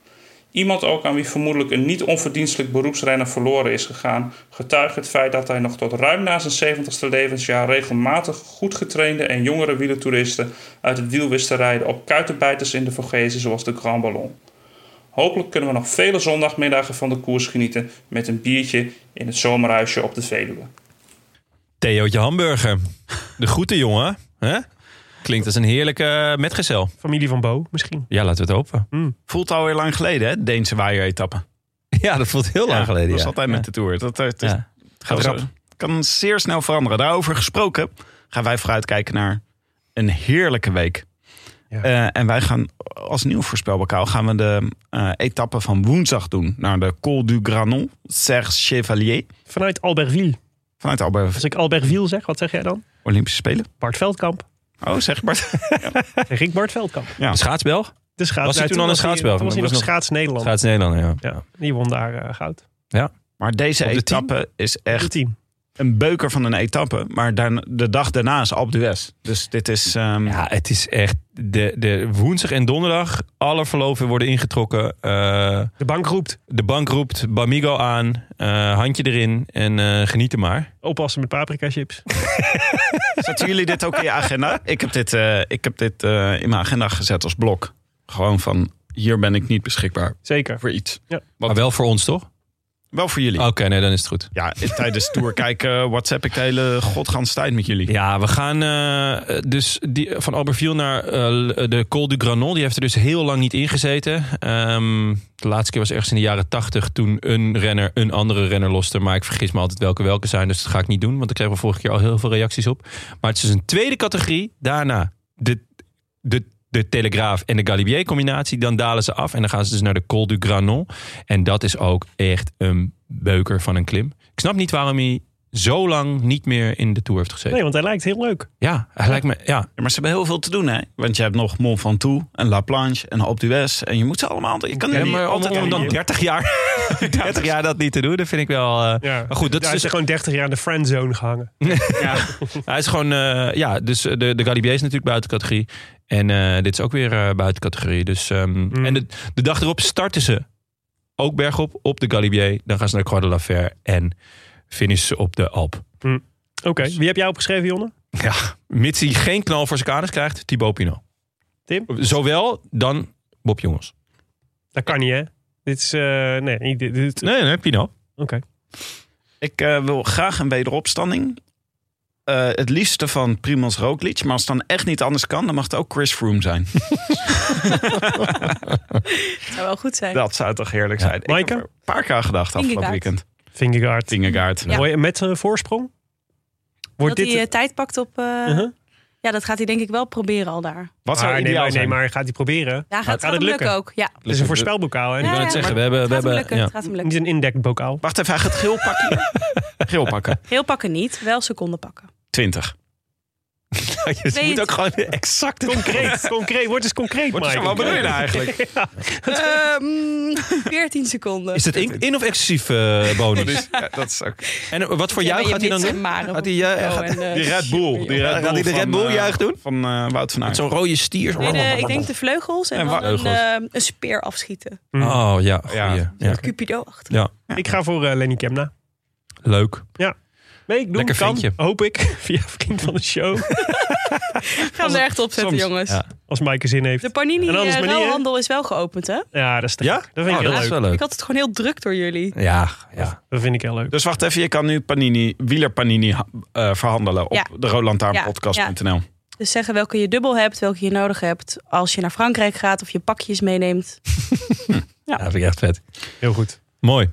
Iemand ook aan wie vermoedelijk een niet onverdienstelijk beroepsrenner verloren is gegaan, getuigt het feit dat hij nog tot ruim na zijn 70ste levensjaar regelmatig goed getrainde en jongere wielertoeristen uit het wiel wist te rijden op kuitenbijters in de Vogezen zoals de Grand Ballon. Hopelijk kunnen we nog vele zondagmiddagen van de koers genieten met een biertje in het zomerhuisje op de Veluwe.
Theootje Hamburger. De groeten, jongen. hè? Klinkt als een heerlijke eh, metgezel.
Familie van Bo, misschien.
Ja, laten we het hopen.
Voelt alweer lang geleden, hè? Deense waaieretappe.
[laughs] Ja, dat voelt heel lang geleden.
Dat is
ja.
altijd met de Tour. Dat, dat, dat-
Ja.
het gaat
Rap.
zo- het kan zeer snel veranderen. Daarover gesproken gaan wij vooruitkijken naar een heerlijke week.
Ja.
Eh, en wij gaan als nieuw voorspelbokaal gaan we de eh, etappe van woensdag doen. Naar de Col du Granon, Serge Chevalier.
Vanuit Albertville.
Vanuit Albert
Als ik Albertville zeg, wat zeg jij dan?
Olympische Spelen.
Bart Veldkamp.
Oh, zeg Bart.
Zeg ik Bart Veldkamp.
Ja.
De schaatsbelg?
De schaats,
Was hij toen al een
was
schaatsbel?
Toen was hij
Was
nog
nog-
schaats Nederland.
Schaats-Nederlander, ja.
Ja, die won daar eh, goud.
[laughs] Maar deze
Op de tien?
etappe is echt
Het team.
een beuker van een etappe. Maar daarna- de dag daarna is Alpe d'Huez. Dus dit is... ehm,
Ja, het is echt de, de woensdag en donderdag. Alle verloven worden ingetrokken. Eh,
De bank roept.
de bank roept Bamigo aan. eh, handje erin en eh, geniet er maar.
Oppassen met paprika chips.
[laughs] Zetten jullie dit ook in je agenda? Ik heb dit, eh, ik heb dit eh, in mijn agenda gezet als blok. Gewoon van, hier ben ik niet beschikbaar
Zeker.
voor iets.
Maar wel voor ons, toch?
Wel voor jullie.
Oké, nee, dan is het goed.
Ja, eh, tijdens tour kijken eh, WhatsApp ik de hele godgans tijd met jullie.
Ja, we gaan eh, dus die, van Albertville naar eh, de Col du Granon. Die heeft er dus heel lang niet ingezeten. Ehm de laatste keer was ergens in de jaren tachtig toen een renner een andere renner loste. Maar ik vergis me altijd welke welke zijn, dus dat ga ik niet doen. Want ik kreeg we vorige keer al heel veel reacties op. Maar het is dus een tweede categorie. Daarna de, de, de Telegraaf en de Galibier combinatie. Dan dalen ze af en dan gaan ze dus naar de Col du Granon. En dat is ook echt een beuker van een klim. Ik snap niet waarom hij zo lang niet meer in de Tour heeft gezeten.
Nee, want hij lijkt heel leuk.
Ja, hij lijkt me. Ja,
Ja, maar ze hebben heel veel te doen, hè? Want je hebt nog Mont Ventoux en La Planche en Alpe d'Huez. En je moet ze allemaal... Je kan
Ja,
er niet
maar
om,
altijd
om
aan
dan
dan
30 [laughs] jaar, 30 jaar dat niet te doen, dat vind ik wel. eh,
Ja.
Maar goed, dat
hij
is
is
dus-
gewoon 30 jaar in de friendzone gehangen.
Hij is gewoon. eh, ja, dus eh, de, de Galibier is natuurlijk buiten categorie. En eh, dit is ook weer eh, buiten categorie. Dus, ehm, En de, de dag erop starten ze ook bergop op de Galibier. Dan gaan ze naar Croix de la Fer en finishen ze op de Alp.
Oké, wie heb jij opgeschreven, Jonne?
Ja, mits hij geen knal voor zijn kaders krijgt, Thibaut Pinot.
Tim?
Zowel dan Bob Jongens.
Dat kan niet, hè? Dit is... eh, nee, niet dit, dit-
Nee, nee, Pinot.
Oké.
Ik eh, wil graag een wederopstanding. Eh, het liefste van Primoz Roglic. Maar als het dan echt niet anders kan, dan mag het ook Chris Froome zijn.
Het zou wel goed zijn.
Dat zou toch heerlijk
Ja.
zijn. Ik heb
Maaike?
er een paar keer aan gedacht afgelopen
Vingegaard.
weekend.
Vingegaard.
Tingegaard.
Ja.
Mooi, met eh, voorsprong? Wordt
dat
dit...
hij eh, tijd pakt op... eh,
Uh-huh.
Ja, dat gaat hij denk ik wel proberen al daar.
Wat zou
Ah, nee,
ideaal
maar, nee,
zijn?
maar gaat hij proberen?
Ja, gaat,
het
gaat hem lukken? ook. Ja,
Het is een voorspelbokaal, hè?
Ja,
Ik wil
ja,
het zeggen,
maar
we hebben.
het
We
gaat hem
hebben
lukken.
ja.
het gaat hem
Niet
lukken.
een indekbokaal.
Wacht even, hij
[laughs]
gaat geel pakken. geel pakken.
Heel pakken niet, wel seconden pakken.
20.
je
Weet-
moet ook [laughs] gewoon exact...
Concreet, [laughs] concreet. Word eens concreet,
Wordt het zo,
Mike.
wat bedoel je nou eigenlijk?
Ehm, [laughs] 14 seconden.
Is dat in, in- of exclusief eh, bonus?
Dus, ja, dat is ook.
En eh, wat voor
Ja,
jou
maar
gaat
je
hij dan
mits
doen?
en maren
Gaat hij, eh,
moet
gaat-
en, eh,
Die Red Bull. Die Red
Gaat hij de
van,
Red Bull
eh,
juich doen?
Van eh, Wout van
Met
Aert.
zo'n rode stier?
Nee, de- eh, ik denk de vleugels en,
En
dan een,
vleugels.
ehm, een speer afschieten.
Oh ja, goeie.
Ja.
ja. ja.
Cupido achter.
Ik ga voor eh, Lenny Kemna.
Leuk.
Nee, ik doe
Lekker
hem, kan,
ventje.
hoop ik. [laughs] Via vriend van de show.
Ik ga hem er echt op zetten,
soms,
jongens.
ja.
Als Mike er zin heeft.
De panini
En anders
eh,
manier-
ruilhandel is wel geopend, hè?
Ja, dat is te
Ja?
gek. Dat vind
Oh,
ik heel
dat is
leuk.
wel leuk.
Ik had het gewoon heel druk door jullie.
Ja, ja.
Dat vind ik heel leuk.
Dus wacht even, je kan nu Panini, wielerpanini ha- eh, verhandelen op
Ja.
de roodlantaarnpodcast.nl.
Dus zeggen welke je dubbel hebt, welke je nodig hebt. Als je naar Frankrijk gaat of je pakjes meeneemt. [laughs]
Ja, dat vind ik echt vet.
Heel goed.
Mooi.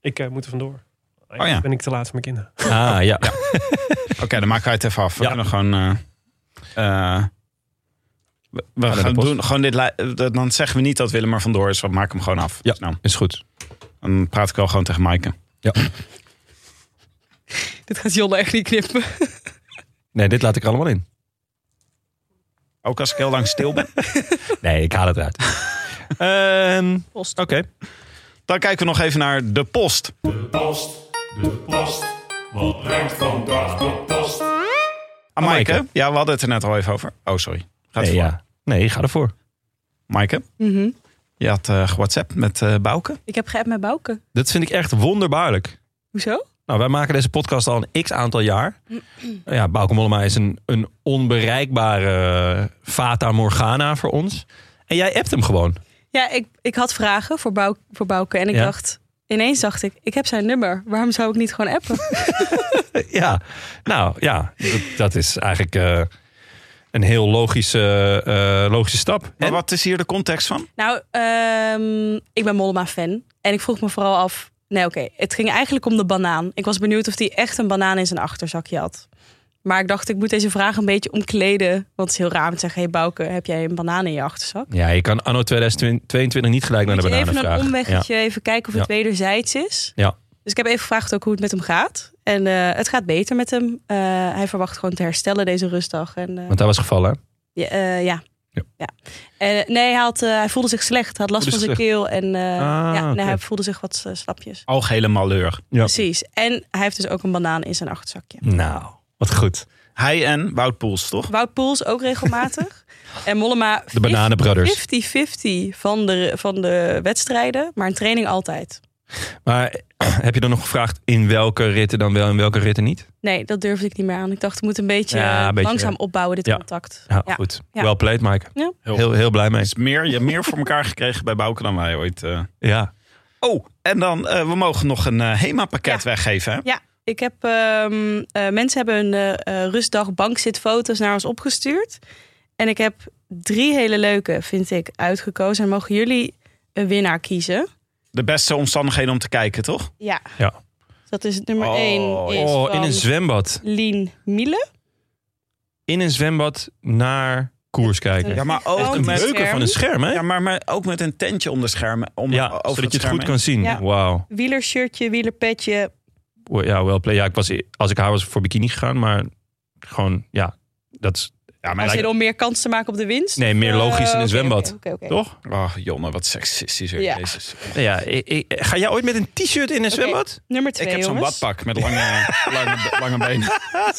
Ik eh, moet er vandoor. Oh,
ja.
Ben ik te laat voor mijn kinderen.
Ah, ja.
Oké, dan maken wij het even af. We
Ja.
kunnen gewoon... eh, eh, we we
naar de
gaan
post.
doen, gewoon dit, li- eh, dan zeggen we niet dat Willem er vandoor is. We maken hem gewoon af.
Ja.
Snel.
Is goed.
dan praat ik wel gewoon tegen Maaike.
Dit gaat Jonne echt niet knippen.
Nee, dit laat ik er allemaal in.
Ook als ik heel lang
[laughs]
stil ben.
Nee, ik haal het eruit. [laughs] Ehm,
Post.
Oké.
Dan kijken we nog even naar de post. Ah,
Post, de post. Wat brengt vandaag de post?
Ah, Maaike.
Maaike.
Ja, we hadden het er net al even over. Oh, sorry. Gaat
Nee,
voor.
ja. nee, ga ervoor.
Maaike,
Mhm.
je had eh WhatsApp met eh Bouke.
Ik heb geappt met Bouke.
Dat vind ik echt wonderbaarlijk.
Hoezo?
Nou, wij maken deze podcast al een x aantal jaar. Ja, Bauke Mollema is een, een onbereikbare eh, Fata Morgana voor ons. En jij appt hem gewoon. [laughs]
Ja, ik, ik had vragen voor, Bou voor Bouke. En ik
Ja.
dacht, ineens dacht ik, ik heb zijn nummer. Waarom zou ik niet gewoon appen?
Ja, nou ja, dat, dat is eigenlijk eh, een heel logische, eh, logische stap.
Maar
En-
wat is hier de context van?
Nou, ehm, ik ben Mollema-fan. En ik vroeg me vooral af... Nee, oké. Het ging eigenlijk om de banaan. Ik was benieuwd of hij echt een banaan in zijn achterzakje had. Maar ik dacht, ik moet deze vraag een beetje omkleden. Want het is heel raar om te zeggen... Hé hey Bouke, heb jij een banaan in je achterzak?
Ja, je kan anno 2022 niet gelijk naar de
Moet je
bananen
even een
vragen. Ja.
omweggetje, even kijken of het wederzijds is.
Ja.
Dus ik heb even gevraagd ook hoe het met hem gaat. En eh, het gaat beter met hem. Eh, hij verwacht gewoon te herstellen deze rustdag. En, eh,
Want hij was gevallen. hè?
ja, eh, ja.
Ja.
ja. En, nee, hij, had, eh, hij voelde zich slecht. Hij had last van
Voelde Ah,
zijn keel. En eh, ja, nee,
oké.
hij voelde zich wat eh, slapjes.
Algehele malheur.
Ja.
Precies. En hij heeft dus ook een banaan in zijn achterzakje.
Nou, wat goed.
Hij en Wout Poels, toch?
Wout Poels ook
[laughs]
regelmatig. en Mollema
De bananenbrothers.
50-50 van de, van de wedstrijden. Maar een training altijd.
Maar [clears throat] heb je dan nog gevraagd in welke ritten dan wel en welke ritten niet?
Nee, dat durfde ik niet meer aan. Ik dacht, ik moet een beetje,
Ja, een
eh,
beetje,
langzaam
ja.
opbouwen, dit
Ja.
contact.
Ja, goed.
Ja.
Well played, Mike.
Ja.
Heel
Heel, heel blij mee.
Is meer, je hebt meer voor elkaar gekregen bij Bouke dan wij ooit. eh.
Ja.
Oh, en dan, eh, we mogen nog een eh, HEMA-pakket
Ja.
weggeven. Hè?
Ja, ik heb ehm, eh, mensen hebben hun eh, eh, rustdag bankzitfoto's naar ons opgestuurd. En ik heb drie hele leuke, vind ik, uitgekozen. En mogen jullie een winnaar kiezen?
De beste omstandigheden om te kijken, toch?
Ja.
Ja.
Dat is het nummer
Oh,
één. Is
Oh, in
van
een zwembad.
Lien Miele.
In een zwembad naar koers kijken.
Ja,
maar
ook
Een
met-
beuken van een scherm, hè?
Ja, maar, maar ook met een tentje om de schermen. Om,
Ja,
over
zodat je het
scherm
goed
heen.
kan zien.
Ja.
Wauw.
Wielershirtje, wielerpetje.
Ja, well played. Ja, ik was, e- als ik haar was voor bikini gegaan, maar gewoon, ja, dat is... Ja,
Maar zit om meer kans te maken op de winst?
Nee, meer
Of, eh,
logisch in een
oké,
zwembad.
oké, oké, oké.
Toch?
Oh, Jonne, wat seksistisch. hè.
Ja.
Jezus.
Ja, ik- ik- ga jij ooit met een t-shirt in een zwembad?
Nummer twee,
Ik heb zo'n
jongens.
badpak met lange, lange, lange benen.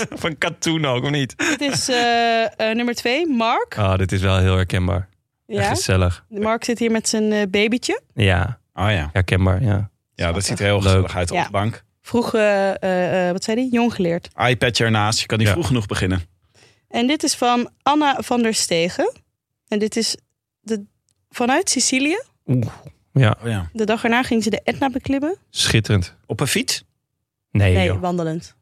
[laughs] Van katoen ook, of niet?
Dit is eh, eh, nummer twee, Mark.
Ah, dit is wel heel herkenbaar. Echt
Ja.
Gezellig.
Mark zit hier met zijn eh, babytje.
Ja,
Oh ja.
herkenbaar, ja.
Ja, dat ziet er heel
Leuk.
gezellig uit op
Ja.
de bank.
Vroeg, eh, eh, eh, wat zei hij? Jong geleerd.
iPadje ernaast. Je kan niet
Ja.
vroeg genoeg beginnen.
En dit is van Anna van der Stegen. En dit is de, vanuit Sicilië.
Ja,
Oh ja.
De dag erna ging ze de Etna beklimmen.
schitterend.
Op een fiets?
Nee,
Nee,
joh.
wandelend.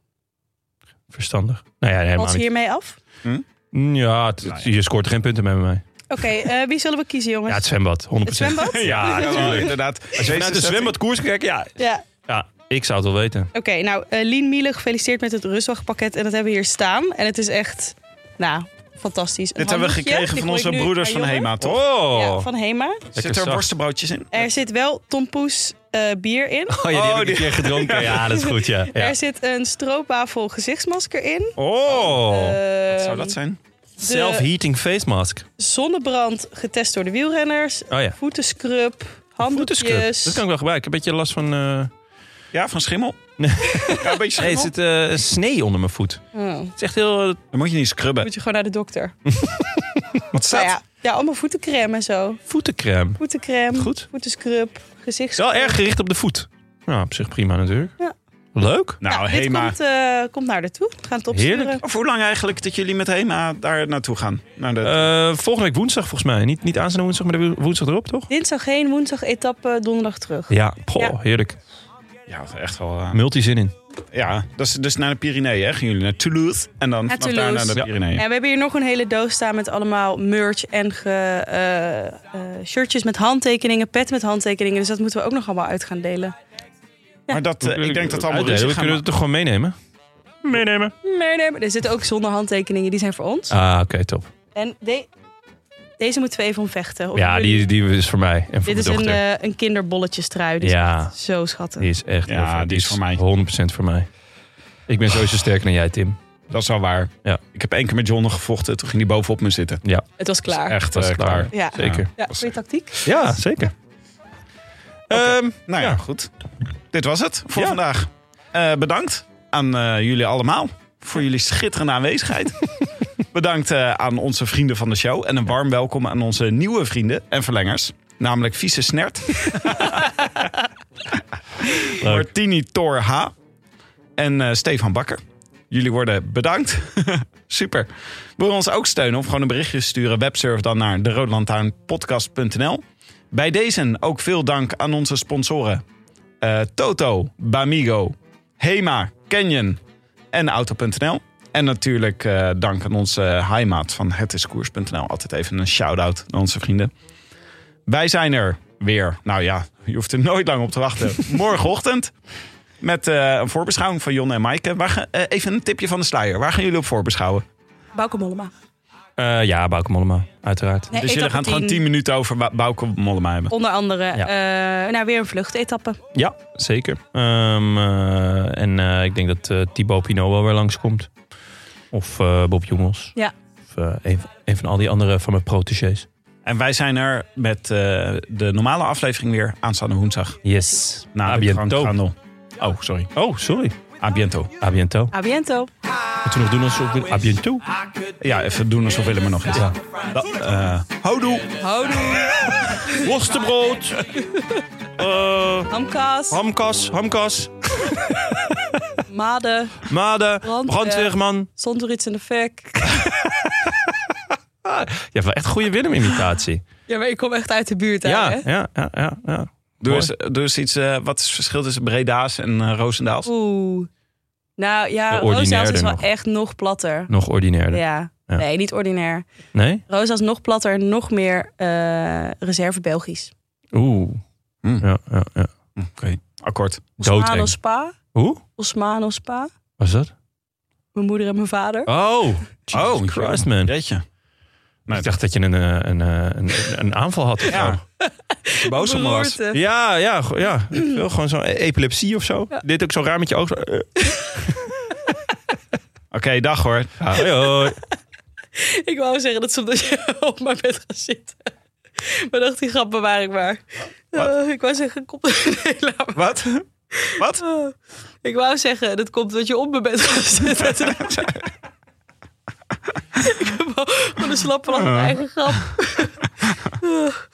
verstandig. Nou ja, nee, helemaal
Valt ze
niet.
hiermee af?
Ja, het- het- je scoort er geen punten mee bij mij.
Oké,
[laughs]
eh, wie zullen we kiezen, jongens?
Ja, het zwembad, 100%.
Het zwembad?
Ja,
Ja,
natuurlijk.
inderdaad. Als je
Vanuit een zwembad koers kijken, ja. Oh.
Ja.
Ja, ik zou het wel weten.
Oké, nou, eh, Lien Miele, gefeliciteerd met het rustwachtpakket. En dat hebben we hier staan. En het is echt, nou, fantastisch. Een
Dit hebben we
handdoekje,
gekregen
die
van
gooi ik
onze
nu
broeders
aan
van
Jonne.
Hema, toch?
Oh,
Ja, van Hema.
Zit er
zacht.
worstenbroodjes in?
Er zit wel tompoes eh, bier in.
Oh ja, die heb
Oh,
ik
die-
een keer gedronken. Ja, dat is goed, [laughs] ja. ja.
Er zit een stroopwafel gezichtsmasker in.
Oh,
Ehm,
Zou dat zijn?
self-heating face mask.
Zonnebrand getest door de wielrenners.
Oh ja,
Voetenscrub.
voetenscrub.
Handdoekjes.
Dat kan ik wel gebruiken. Een beetje last van... eh,
Ja, van schimmel? ja, een beetje
Nee,
schimmel.
er zit eh, snee onder mijn voet.
Oh,
Het is echt heel... eh,
Dan moet je niet scrubben.
moet je gewoon naar de
[laughs]
dokter.
Wat
Nou
staat?
ja, ja, allemaal voetencrème en zo.
voetencrème.
Voetencrème.
Goed.
Voetenscrub.
Het
Gezichtscrub.
is wel erg gericht op de voet. Nou, op zich prima natuurlijk.
Ja.
Leuk.
Nou,
dit
Hema.
komt, eh, komt naar de toe. We gaan het opsturen.
Heerlijk.
Of hoe lang eigenlijk dat jullie met Hema daar naartoe gaan? Naar de...
Eh, volgende week woensdag volgens mij. Niet, niet aanstaande woensdag, maar de wo- woensdag erop, toch?
Dinsdag heen, woensdag etappe, donderdag terug.
Ja, Goh,
Ja.
heerlijk.
ja, echt wel... eh,
Multizin in.
ja, dat is dus naar de Pyreneeën, hè? Gaan jullie naar Toulouse en dan vanaf daar
Toulouse.
naar de
Ja.
Pyreneeën.
En we hebben hier nog een hele doos staan met allemaal merch en ge- eh, eh, shirtjes met handtekeningen, pet met handtekeningen. Dus dat moeten we ook nog allemaal uit gaan delen.
Maar dat, eh, ik denk dat allemaal
Uitdelen,
ruzie
We
gaan
kunnen het toch gewoon meenemen? Meenemen.
Nee, nee, maar er zitten ook zonder handtekeningen, die zijn voor ons.
Ah, oké, top.
En de- deze moeten we even omvechten. Of
Ja,
jullie-
die, die is voor mij en voor
Dit is
mijn
een,
dochter.
eh een kinderbolletjestrui. Dus
ja,
Zo schattig.
die is echt
Ja,
heel vet.
die is voor mij.
100% voor mij. Ik ben sowieso sterker dan jij, Tim.
Dat is wel waar.
Ja.
Ik heb één keer met John gevochten. Toen ging hij bovenop me zitten.
Het was klaar.
Echt
Dat is
eh, klaar.
klaar.
Ja.
Zeker.
Ja, goede tactiek.
Ja, zeker. Ehm,
Nou ja,
Ja.
goed. Dit was het voor
Ja.
vandaag. Eh, bedankt aan eh, jullie allemaal voor jullie schitterende aanwezigheid. bedankt eh, aan onze vrienden van de show. En een warm welkom aan onze nieuwe vrienden en verlengers. Namelijk Vieze Snert. Martini Thor H. En eh, Stefan Bakker. Jullie worden bedankt. [laughs] Super. Wil je ons ook steunen of gewoon een berichtje sturen? Websurf dan naar deroodlantaarnpodcast.nl. Bij deze ook veel dank aan onze sponsoren. Eh, Toto, Bamigo, Hema, Canyon en Auto.nl. En natuurlijk eh, dank aan onze heimaat van hetiskoers.nl. Altijd even een shout-out naar onze vrienden. Wij zijn er weer. Nou ja, je hoeft er nooit lang op te wachten. Morgenochtend met eh, een voorbeschouwing van Jon en Maaike. Waar ga- eh, even een tipje van de sluier. Waar gaan jullie op voorbeschouwen?
Bauke Mollema.
eh, ja, Bauke Mollema, uiteraard.
Nee,
dus jullie
etappe
gaan het gewoon
10.
10 minuten over Ba- Bauke Mollema hebben.
Onder andere, eh, nou weer een vluchtetappe.
Ja, zeker. Ehm, eh, en eh, ik denk dat eh Thibaut Pinot wel weer langskomt. Of eh, Bob Jongels.
Ja.
Of eh, een, een van al die andere van mijn protégés.
En wij zijn er met eh, de normale aflevering weer aanstaande woensdag.
Yes.
Na
Na
de
Abiento.
krankhandel. Oh, sorry.
Oh, sorry.
Abiento.
Abiento.
A biento.
Moeten we nog doen alsof we... Abiento?
Ja, even doen alsof Willem er nog is.
Ja.
Dat, eh, houdoe.
Houdoe.
Worstenbrood. Eh,
[laughs] Hamkaas.
hamkas. Hamkas.
Made.
Made.
Brandweer.
Brandweerman.
Zonder iets eh, in de fik.
Je hebt wel echt goede Willem-imitatie.
Ja, maar ik kom echt uit de buurt. hè,
Ja,
hè?
ja, ja, ja. ja.
Doe
Mooi.
eens, doe eens iets. eh, wat is het verschil tussen Breda's en eh, Roosendaals?
Oeh. Nou
De
ja, Roosdaals
ordinairder
is wel
nog.
echt nog platter.
Nog ordinairder.
Ja.
Ja.
Nee, niet ordinair.
Nee?
Roosdaals nog platter, nog meer eh, reserve Belgisch.
Oeh.
Mm.
Ja, ja, ja.
Oké, akkoord.
Doodeng.
Osmano Spa.
Hoe?
Osmano Spa.
Was dat?
Mijn moeder en mijn vader.
Oh, Jesus
Oh,
Christ, man.
Jeetje. Nou,
ik dacht dat je een, eh, een, eh, een, een aanval had. of zo.
Ja.
[laughs]
Boos om me was.
Beroerte.
ja, ja, go- ja. Ik wil gewoon zo'n e- epilepsie of zo. Dit ook zo raar met je oog. zo, eh.
Oké, dag hoor.
Ah, Hoi, hoi.
Ik wou zeggen dat ze dat je [laughs] op mijn bed gaat zitten. Maar dacht, die grap bewaar ik maar. Eh, ik wou zeggen, kom... [laughs] Nee, laat maar.
Wat? Wat?
Oh. Ik wou zeggen, dat komt dat je op mijn bed gaat zitten. [laughs] Toen dacht ik
Ah.
ik heb wel van een slappe lach op mijn eigen grap.